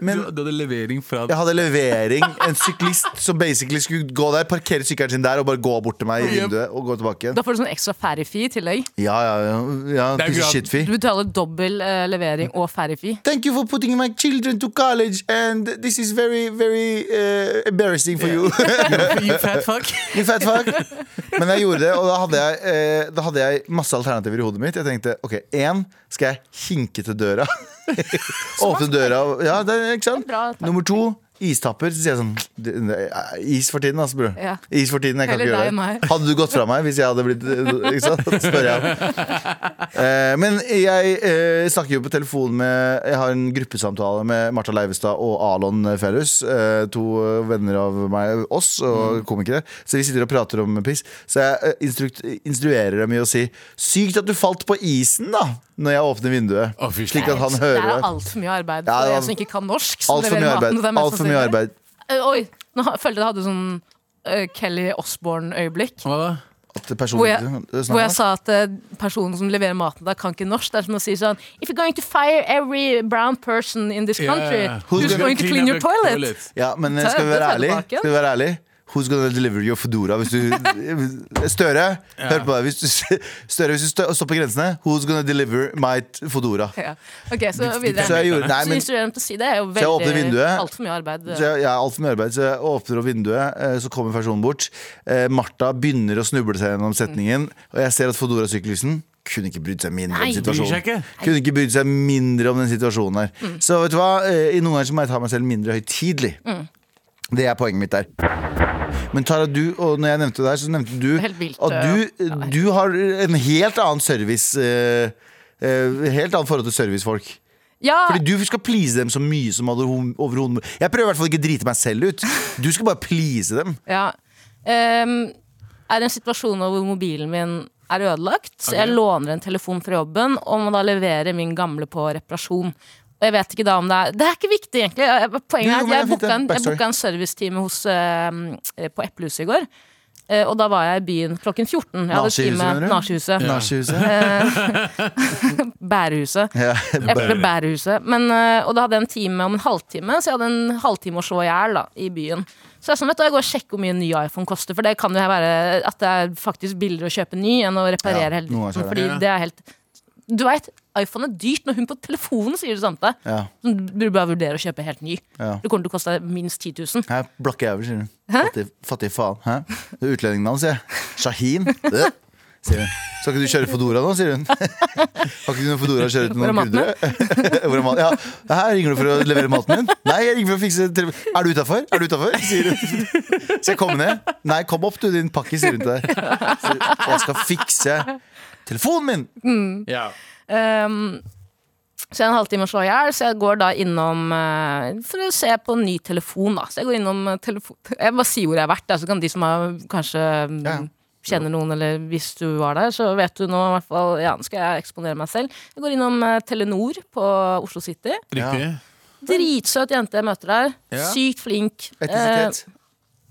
du, du hadde levering fra Jeg hadde levering. En syklist som basically skulle gå der, parkere sykkelen sin der og bare gå bort til meg i vinduet og gå tilbake igjen. Da får du sånn ekstra ferry-fee i tillegg. Ja, ja, ja. ja Det er piece grad- of shit-fi. Du betaler dobbel eh, levering og ferry-fee. Thank you for putting my children to college, and this is very, very eh, embarrassing for you. You fat fuck. You fat fuck. Men jeg gjorde det, og da hadde jeg, eh, da hadde jeg masse alternativer i hodet mitt. Jeg tenkte ok, én skal jeg hinke til døra. Åpne døra. og- Ja, det, er- ikke sant? Bra taktikk. Nummer to Istapper, så sier jeg sånn "Det- det er Is for tiden, altså, bror. Ja. Is for tiden, jeg kan Heller ikke gjøre deg enn det. meg. Hadde du gått fra meg hvis jeg hadde blitt eh, Ikke sant? Spør jeg om. Eh, Men jeg eh, snakker jo på telefon med Jeg har en gruppesamtale med Martha Leivestad og Alon Ferrus. eh, To venner av meg, oss Mm. og komikere. Så vi sitter og prater om piss. Så jeg eh, instrukt, instruerer dem i å si 'Sykt at du falt på isen', da, når jeg åpner vinduet. Å, fy Slik at han Det hører er altfor mye arbeid Ja, for det var- jeg som ikke kan norsk. som Altfor mye leverer maten, arbeid. det er mest Alt for mye sannsynlig. arbeid. Eh, oi, nå har- følte jeg det hadde sånn eh, Kelly Osborne-øyeblikk. Hva da? At personen Hvor jeg, Snakk hvor om jeg det. sa at eh, personen som leverer maten der, kan ikke norsk. Det er som å si sånn If you're going to fire every brown person in this Yeah. country, Who's who's gonna going to clean clean up your the toilet? toilet? Ja, men eh, Ta- skal vi ta den være ærlig? tilbake. Skal vi være ærlig? Who's gonna deliver your fedora hvis du Støre, hør på meg. Hvis du, Støre, hvis du stø- stopper grensene, who's gonna deliver my t- fedora? Ja. Ok, så Så jeg videre. gjorde Nei, Så men instruerer dem til å si det. er jo jeg åpner veldig vinduet. altfor mye arbeid. så jeg, jeg er altfor mye arbeid, så jeg åpner opp vinduet, eh, så kommer personen bort. Eh, Martha begynner å snuble seg gjennom setningen, og jeg ser at Fodora-syklusen kunne ikke brydd seg mindre om Nei. Mm. Bryr seg situasjonen. ikke. Kunne ikke brydd seg mindre om den situasjonen her. Så vet du hva, eh, i noen ganger så må jeg ta meg selv mindre høytidelig. Mm. Det er poenget mitt der. Men Tara, du, og når jeg nevnte deg, så nevnte du Helt vilt, at du, ja. du har en helt annen service eh, eh, Helt annet forhold til servicefolk. Ja, Fordi du skal please dem så mye som overho- overhodet mulig. Jeg prøver i hvert fall ikke å drite meg selv ut. Du skal bare please dem. Ja. Ehm, er det en situasjon hvor mobilen min er ødelagt, så jeg låner en telefon fra jobben og må da levere min gamle på reparasjon. Og jeg vet ikke da om Det er Det er ikke viktig, egentlig. Jeg- Poenget er Jo, at men det er jeg fint, booka en, jeg backstory. booka en servicetime hos, ehm, eh, på Eplehuset i går. Eh, og da var jeg i byen klokken 14. Jeg hadde Nazihuset, time mener du? Nazihuset. Nachhuset. Bærehuset. Ja. Eplebærehuset. Men, øh, og da hadde jeg en time om en halvtime, så jeg hadde en halvtime å slå i hjel da, i byen. Så jeg, er sånn, vet du, jeg går og sjekker hvor mye en ny iPhone koster, for det kan jo være at det er faktisk billigere å kjøpe ny enn å reparere Ja, hele noen ganger så dritten. er det Fordi det. det er helt Du veit, iPhone er dyrt når hun på telefonen sier det samme. til deg. Ja. Så Du burde bare vurdere å kjøpe helt ny. Ja. Det kommer til å koste deg minst 10 000. Hæ? Blakke jævel, sier hun. Fattig, fattig faen. Hæ? Det er utlendingnavn, sier jeg. Shahin. Øh, Sier hun. Skal ikke du kjøre Fodora nå, sier hun. Har ikke du noen Fodora å kjøre til Hvor er noen maten kurdere? Hvor er maten? Ja. Her ringer du for å levere maten min? Nei, jeg ringer for å fikse tele- Er du utafor? Er du utafor? sier hun. Skal jeg komme ned? Nei, kom opp, du, din pakkis, sier hun til deg. Sier hun, Jeg skal fikse telefonen min! Ja. Ehm, så jeg har en halvtime å slå i hjel, så jeg går da innom eh, For å se på en ny telefon, da. Så jeg går innom eh, telefon Jeg bare sier hvor jeg har vært, da, så kan de som har, kanskje mm, Ja. kjenner noen, eller hvis du var der, så vet du nå i hvert fall Ja, nå skal jeg eksponere meg selv. Jeg går innom eh, Telenor på Oslo City. Riktig. Dritsøt jente jeg møter der. Ja. Sykt flink. Eh, Etnisitet.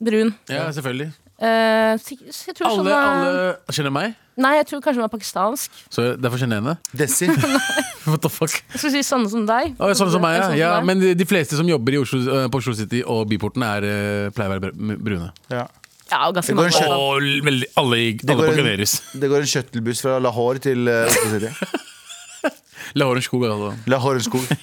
brun. Ja, selvfølgelig. Eh, så jeg så jeg tror Alle, sånn, eh, alle kjenner meg, Nei, jeg tror kanskje hun er pakistansk. så derfor kjenner jeg henne. Eh, Desi. What the fuck? Jeg skulle si sånne som deg. Å, sånn som meg, ja. Sånn som ja deg. men de, de fleste som jobber i Oslo, eh, på Oslo City og Byporten, er, eh, pleier å være br- brune. Ja. ja, og ganske Det går mange. i en hvert fall. Og l- veldig, alle, i- alle går på en- Gunerius. Det går en kjøttelbuss fra Lahore til eh, Oslo City. Lahore Skog. Altså. Lahore skog.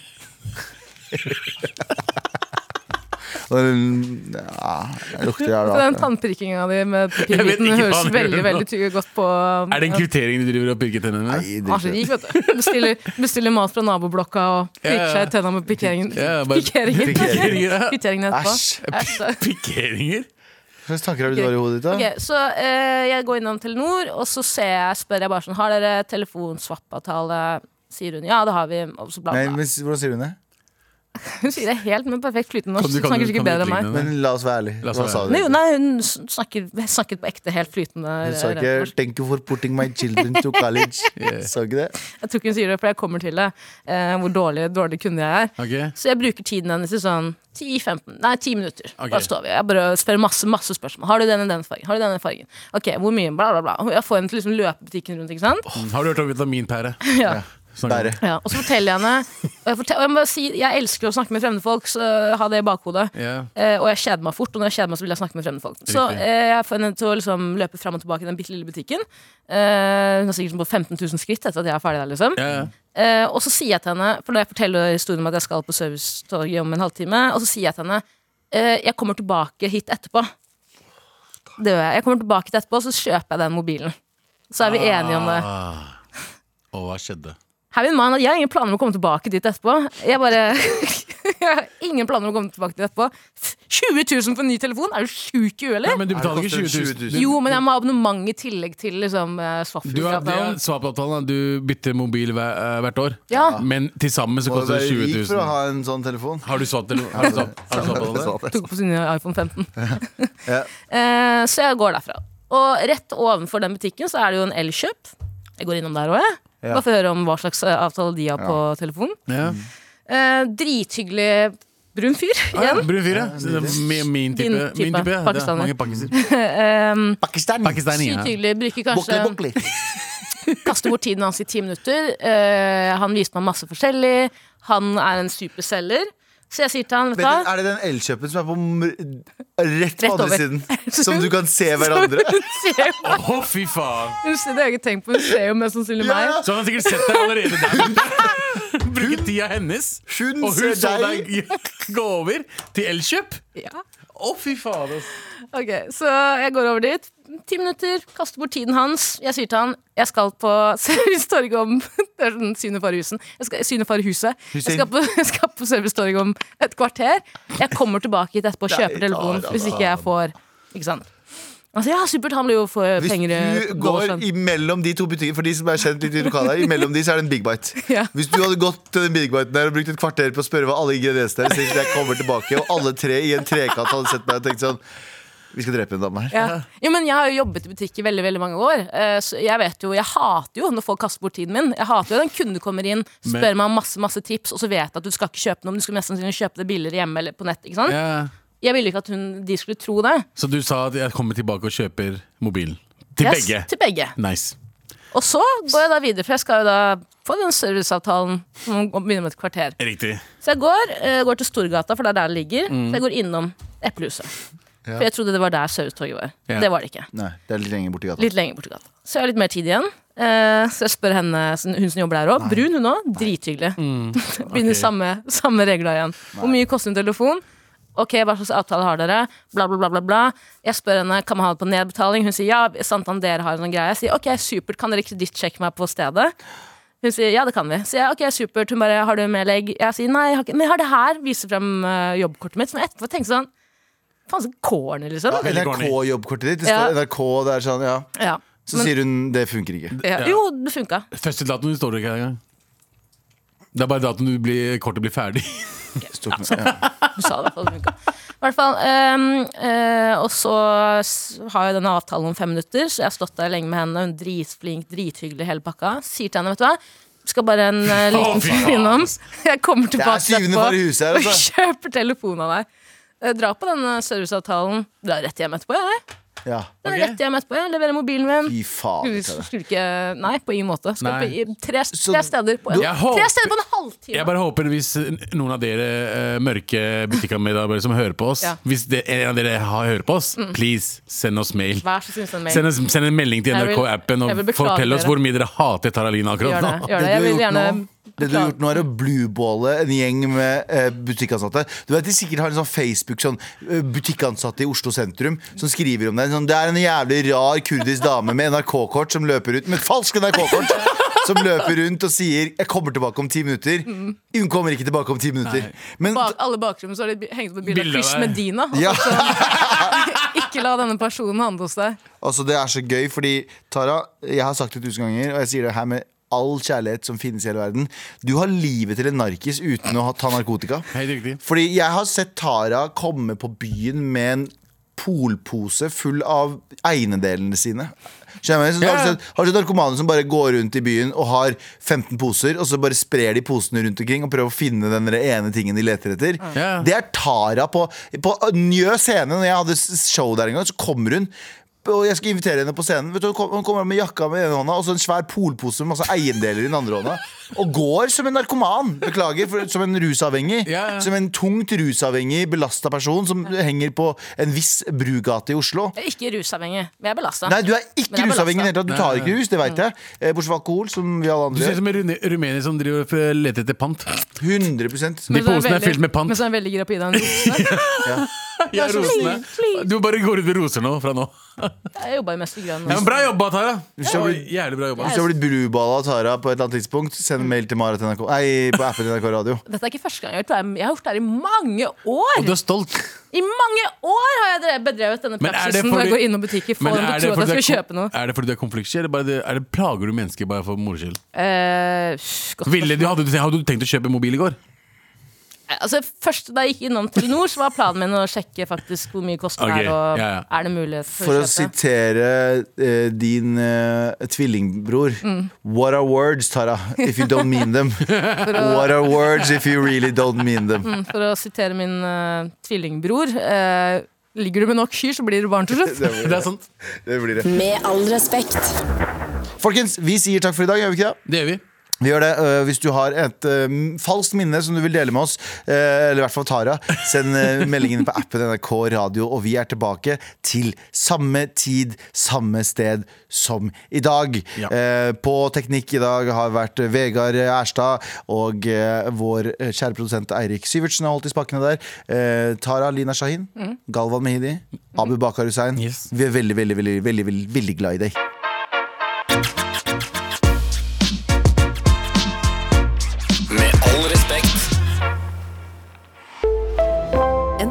Og den- Ja, det lukter jævla altså, Den rart. tannprikkinga di med Jeg vet papirviten ikke hva høres han gjør veldig nå. veldig ty- godt på Er det en kvittering du driver og pirker tennene med? Nei, Han er Ah, så det- rik, vet du. Bestiller, bestiller mat fra naboblokka og Ja, pirker ja. seg i tenna med pikkeringen. Ja, bare- Pikkeringen. Pikkeringen, ja. Pikkeringen etterpå. Æsj. Æsj, da. Pikeringer? Hva slags tanker har du har i hodet ditt? da? Ok, så eh, jeg går innom Telenor, og så ser jeg, spør jeg bare sånn Har dere telefonswappavtale? Sier hun ja, det har vi. Og så bla, Nei, bla. men, s- hvordan sier hun det? Hun sier det helt med perfekt flytende Kan norsk. du- så kan du- Snakker sikkert kan du bedre enn meg. utligne det? Men la oss være ærlig. La oss Hva være sa ærlig. du? Nei, jo, nei, hun snakker, snakket på ekte helt flytende. Hun sa rett norsk. ikke 'thank you for putting my children to college'. Sa ikke det? Jeg tror ikke hun sier det, for jeg kommer til det. Eh, hvor dårlig, dårlig kunde jeg er. Ok. Så jeg bruker tiden hennes i sånn 10-15, nei 10 minutter. Ok. Bare står vi. Jeg bare spør masse masse spørsmål. Har du den og den fargen? Har du den og den fargen? Ok, hvor mye? Bla, bla, bla. Jeg får henne til liksom løpebutikken rundt, ikke sant? Mm, Har du hørt om vitaminpære? Ja. Snakk om Bære. det. ja. Og så forteller jeg henne og jeg, fortel, og jeg må bare si, jeg elsker å snakke med fremmede folk, så ha det i bakhodet. Ja. Eh, og jeg kjeder meg fort, og når jeg kjeder meg, så vil jeg snakke med fremmede folk. Så Riktig. eh, jeg får henne til å liksom løpe frem og tilbake i den bitte lille butikken. Eh, hun har sikkert sånn på 15 000 skritt etter at jeg er ferdig der, liksom. Ja, ja. Eh, og så sier jeg til henne, for når jeg forteller historien om at jeg skal på servicetorget om en halvtime, og så sier jeg til henne eh, jeg kommer tilbake hit etterpå. Det gjør jeg. Jeg kommer tilbake hit Ah. etterpå, så kjøper jeg den mobilen. Så er vi enige om det. Og hva skjedde? Her vil man, jeg har ingen planer om å komme tilbake dit etterpå. Jeg bare Jeg har ingen planer om å komme tilbake dit etterpå. 20 000 for en ny telefon? Er du sjuk i huet, eller? Men du betaler det ikke koster 20 20 000. 000. Jo, men jeg må ha abonnement i tillegg til liksom eh, Du har det er Swap-avtalen. swap-avtalen, at du bytter mobil hver, eh, hvert år. Ja. Men til sammen så Må du koster det være rik 20 for å 000. ha en sånn telefon? Har du swap eller har du swap- har du swap-avtale? Tok på sin iPhone 15. Ja. Eh, så jeg går derfra. Og rett ovenfor den butikken så er det jo en Elkjøp. Jeg går innom der òg, jeg. Ja. Bare for å høre om hva slags eh, avtale de har på telefonen. Ja. Eh, drithyggelig brun fyr Ah, Ja, igjen. Brun fyr, ja. Så det er Min, min type. Din type, Min type ja. Det er pakistaner. Mange pakistaner. Um, Pakistan. Pakistani, Sykt ja. hyggelig. Bruker kanskje Bokli, bokli. kaster bort tiden hans i ti minutter. Eh, han viste meg masse forskjellig. Han er en superselger. Så jeg sier til han, vet du Vent, hva er det den elkjøpen som er på m- Rett rett på andre over. siden? Som du kan se hverandre? Hun ser jo- Å, fy faen! hun ser det har jeg ikke tenkt på. Hun ser jo mest sannsynlig Ja, meg. ja. Så han har sikkert sett deg allerede der. Bruker tida hennes. Hun og hun ser så deg. deg gå over til Elkjøp. Ja. Å, fy faen. ass. Ok, Så jeg går over dit. Ti minutter, kaster bort tiden hans. Jeg sier til han jeg skal på Service Torg om Det er sånn Synefarehusen. Jeg skal- Synefarehuset. Jeg skal på, jeg skal på Service Torg om et kvarter. Jeg kommer tilbake hit etterpå og kjøper Nei, telefonen da, da, hvis ikke jeg får Ikke sant? Altså, ja, supert. Han blir jo for Hvis penger du nå, går sånn. imellom de to butikkene For de som er kjent litt i lokalet her Imellom de så er det en Big Bite Ja. Hvis du hadde gått til den Big Biten der Og brukt et kvarter på å spørre hva alle ingrediensene er Så jeg kommer tilbake Og alle tre i en trekant hadde sett meg og tenkt sånn Vi skal drepe en dame her Ja. Jo, men Jeg har jo jobbet i butikk i veldig veldig mange år. eh, Så jeg vet jo, jeg hater jo når folk kaster bort tiden min. Jeg hater jo når en kunde kommer inn, spør Men- meg om masse masse tips, og så vet jeg at du skal ikke kjøpe noe, men du skal mest sannsynlig kjøpe det billigere hjemme eller på nett. ikke sant? Ja. Jeg ville ikke at hun, de skulle tro det. Så du sa at jeg kommer tilbake og kjøper mobilen. Til Yes, begge. Til begge. Nice. Og så går jeg da videre, for jeg skal jo da få den serviceavtalen som begynner om et kvarter. Riktig. Så jeg går, eh, går til Storgata, for det er der det ligger. Mm. Så jeg går innom Eplehuset. For jeg trodde det var der Servicetorget var. Ja. Det var det ikke. Nei, det er litt lenger borti gata Litt lenger borti gata. Så jeg har litt mer tid igjen. Eh, så jeg spør henne, hun som jobber der òg. Brun hun òg. Drithyggelig. Begynner Mm. ok. samme, samme regler igjen. Hvor mye koster en telefon? Ok, hva slags avtale har dere? Bla, bla, bla, bla, bla. Jeg spør henne kan man ha det på nedbetaling. Hun sier ja, Santander har en sånn greie. Jeg sier ok, supert, kan dere kredittsjekke meg på stedet? Hun sier ja, det kan vi. Så jeg ok, supert. Hun bare har du med legg? Jeg sier nei, jeg har ikke. men jeg har det her. Viser frem eh, jobbkortet mitt. Som jeg etterpå tenker sånn Faen, så corny, liksom. Ja, NRK-jobbkortet ditt Det står Ja. NRK det er sånn, ja Ja. Så sier hun, det funker ikke ja. Ja. Jo, det funka. Første datoen står det ikke engang. Det er bare datoen du blir, kortet blir ferdig. Stort, ja. Du sa det i hvert fall. det funket. I hvert fall ehm, eh, og så s- har jeg denne avtalen om fem minutter, så jeg har stått der lenge med henne. Hun er dritflink, drithyggelig, hele pakka. Sier til henne, vet du hva. Skal bare en eh, Å, liten tur fy faen. innom. Jeg kommer tilbake syvende far i huset her, og altså. kjøper telefon av deg. Eh, Dra på denne serviceavtalen. Dra rett hjem etterpå, jeg. Ja. ja Dra Ok. Rett hjem etterpå, jeg leverer mobilen min. Fy faen vet Skulle du. skulle ikke Nei, på ingen måte. Skal Nei. på, i, tre, Så- tre, steder på en, Jeg håper- tre steder på en Jeg halvtime. bare håper hvis eh, noen av dere eh, mørke butikkanmedarbeidere som hører på oss Ja. Mm. Hvis det, en av dere har hører på oss, please, send oss mail. Vær så snill, send mail. Send, oss, send en melding til Jeg vil- NRK-appen jeg og vil beklage fortell oss dere. hvor mye dere hater Taralina akkurat Gjør det. Gjør nå. det. Det Jeg du vil har gjort gjerne nå- det du har gjort nå, er å blueballe en gjeng med eh, butikkansatte. Du vet De sikkert har en sånn Facebook sånn eh, butikkansatte i Oslo sentrum som skriver om deg. Sånn, det er en jævlig rar kurdisk dame med NRK-kort som løper rundt med et falskt NRK-kort. Som løper rundt og sier 'jeg kommer tilbake om ti minutter'. Hun kommer ikke tilbake om ti minutter. Men Mm. bak, alle bakrom så har de b- hengt opp et bilde av Bilde av Chris deg. Medina. og Ja. så- ikke la denne personen handle hos deg. altså, det er så gøy, fordi Tara, jeg har sagt det tusen ganger, og jeg sier det her med all kjærlighet som finnes i hele verden. Du har livet til en narkis uten å ha- ta narkotika. Helt riktig. Fordi jeg har sett Tara komme på byen med en polpose full av eiendelene sine. Skjønner du hva jeg mener? Så Har du sett, har du sett narkomane som bare går rundt i byen og har 15 poser, og så bare sprer de posene rundt omkring og prøver å finne den der ene tingen de leter etter? Ja. Det er Tara på, på eh, Njø scene. Når jeg hadde s- show der en gang, så kommer hun. Og jeg skal invitere henne på scenen. Vet du, hun kom- hun kommer med jakka med ene hånda og så en svær polpose med masse eiendeler i den andre hånda. Og går som en narkoman. Beklager, for, som en rusavhengig. Ja, ja. Som en tungt rusavhengig, belasta person som henger på en viss brugate i Oslo. Jeg er ikke rusavhengig, men jeg er belasta. Nei, du er ikke Men jeg er belastet. rusavhengig. i det hele tatt. Du tar ikke rus, det veit jeg. Eh, Bortsett fra alkohol, som vi alle Du ser andre. ut som en rune- rumener som driver og leter etter pant. 100 De posene er fylt med pant. Men så er jeg veldig gira på å gi deg en rose. Ja, rosene. Du bare går ut med roser nå, fra nå. Jeg jobba i Mester Grønn. Ja, men bra jobba, Tara! du har Oi, Jævlig bra jobba. Hvis du har blitt bruballa av Tara på et eller annet tidspunkt, send mail til Marit NRK Nei, på appen NRK Radio. Dette er ikke første gang jeg har gjort det. her. Jeg har gjort det her i mange år! Og du er stolt. I mange år har jeg drevet- bedrevet denne Men er det praksisen hvor jeg fordi- går innom butikker for Men å er tro det at fordi du jeg er skal kon- kjøpte noe. Er det fordi du er konfliktsky, eller bare det, er det plager du mennesker bare for moro skyld? Eh, sj, godt Ville du- spørsmål. Hadde du hadde du tenkt å kjøpe mobil i går? Altså, først da jeg gikk innom Telenor, så var planen min å sjekke faktisk hvor mye kosten Ok, er, og ja, ja. er det mulighet for, For å å kjøpe. sitere eh, din eh, tvillingbror What are words, Tara, if you don't mean them? What are words if you really don't mean them? For å sitere min eh, tvillingbror eh, Ligger du med nok kyr, så blir det barn til slutt. Det blir Det er det. sant. det blir det. Med all respekt. Folkens, vi sier takk for i dag, gjør vi ikke det? Det gjør vi. Vi gjør det. Øh, Hvis du har et øh, falskt minne som du vil dele med oss, øh, eller i hvert fall Tara, send øh, meldingen på appen NRK Radio, og vi er tilbake til samme tid, samme sted som i dag. Ja. Eh, På teknikk i dag har vært Vegard Erstad og eh, vår kjære produsent Eirik Syvertsen har holdt i spakene der. Eh, Tara Lina Shahin, Galvan Mehidi, Abu Bakar Hussein. Mm. Yes. Vi er veldig, veldig, veldig, veldig, veldig, veldig glad i deg. Med all respekt. En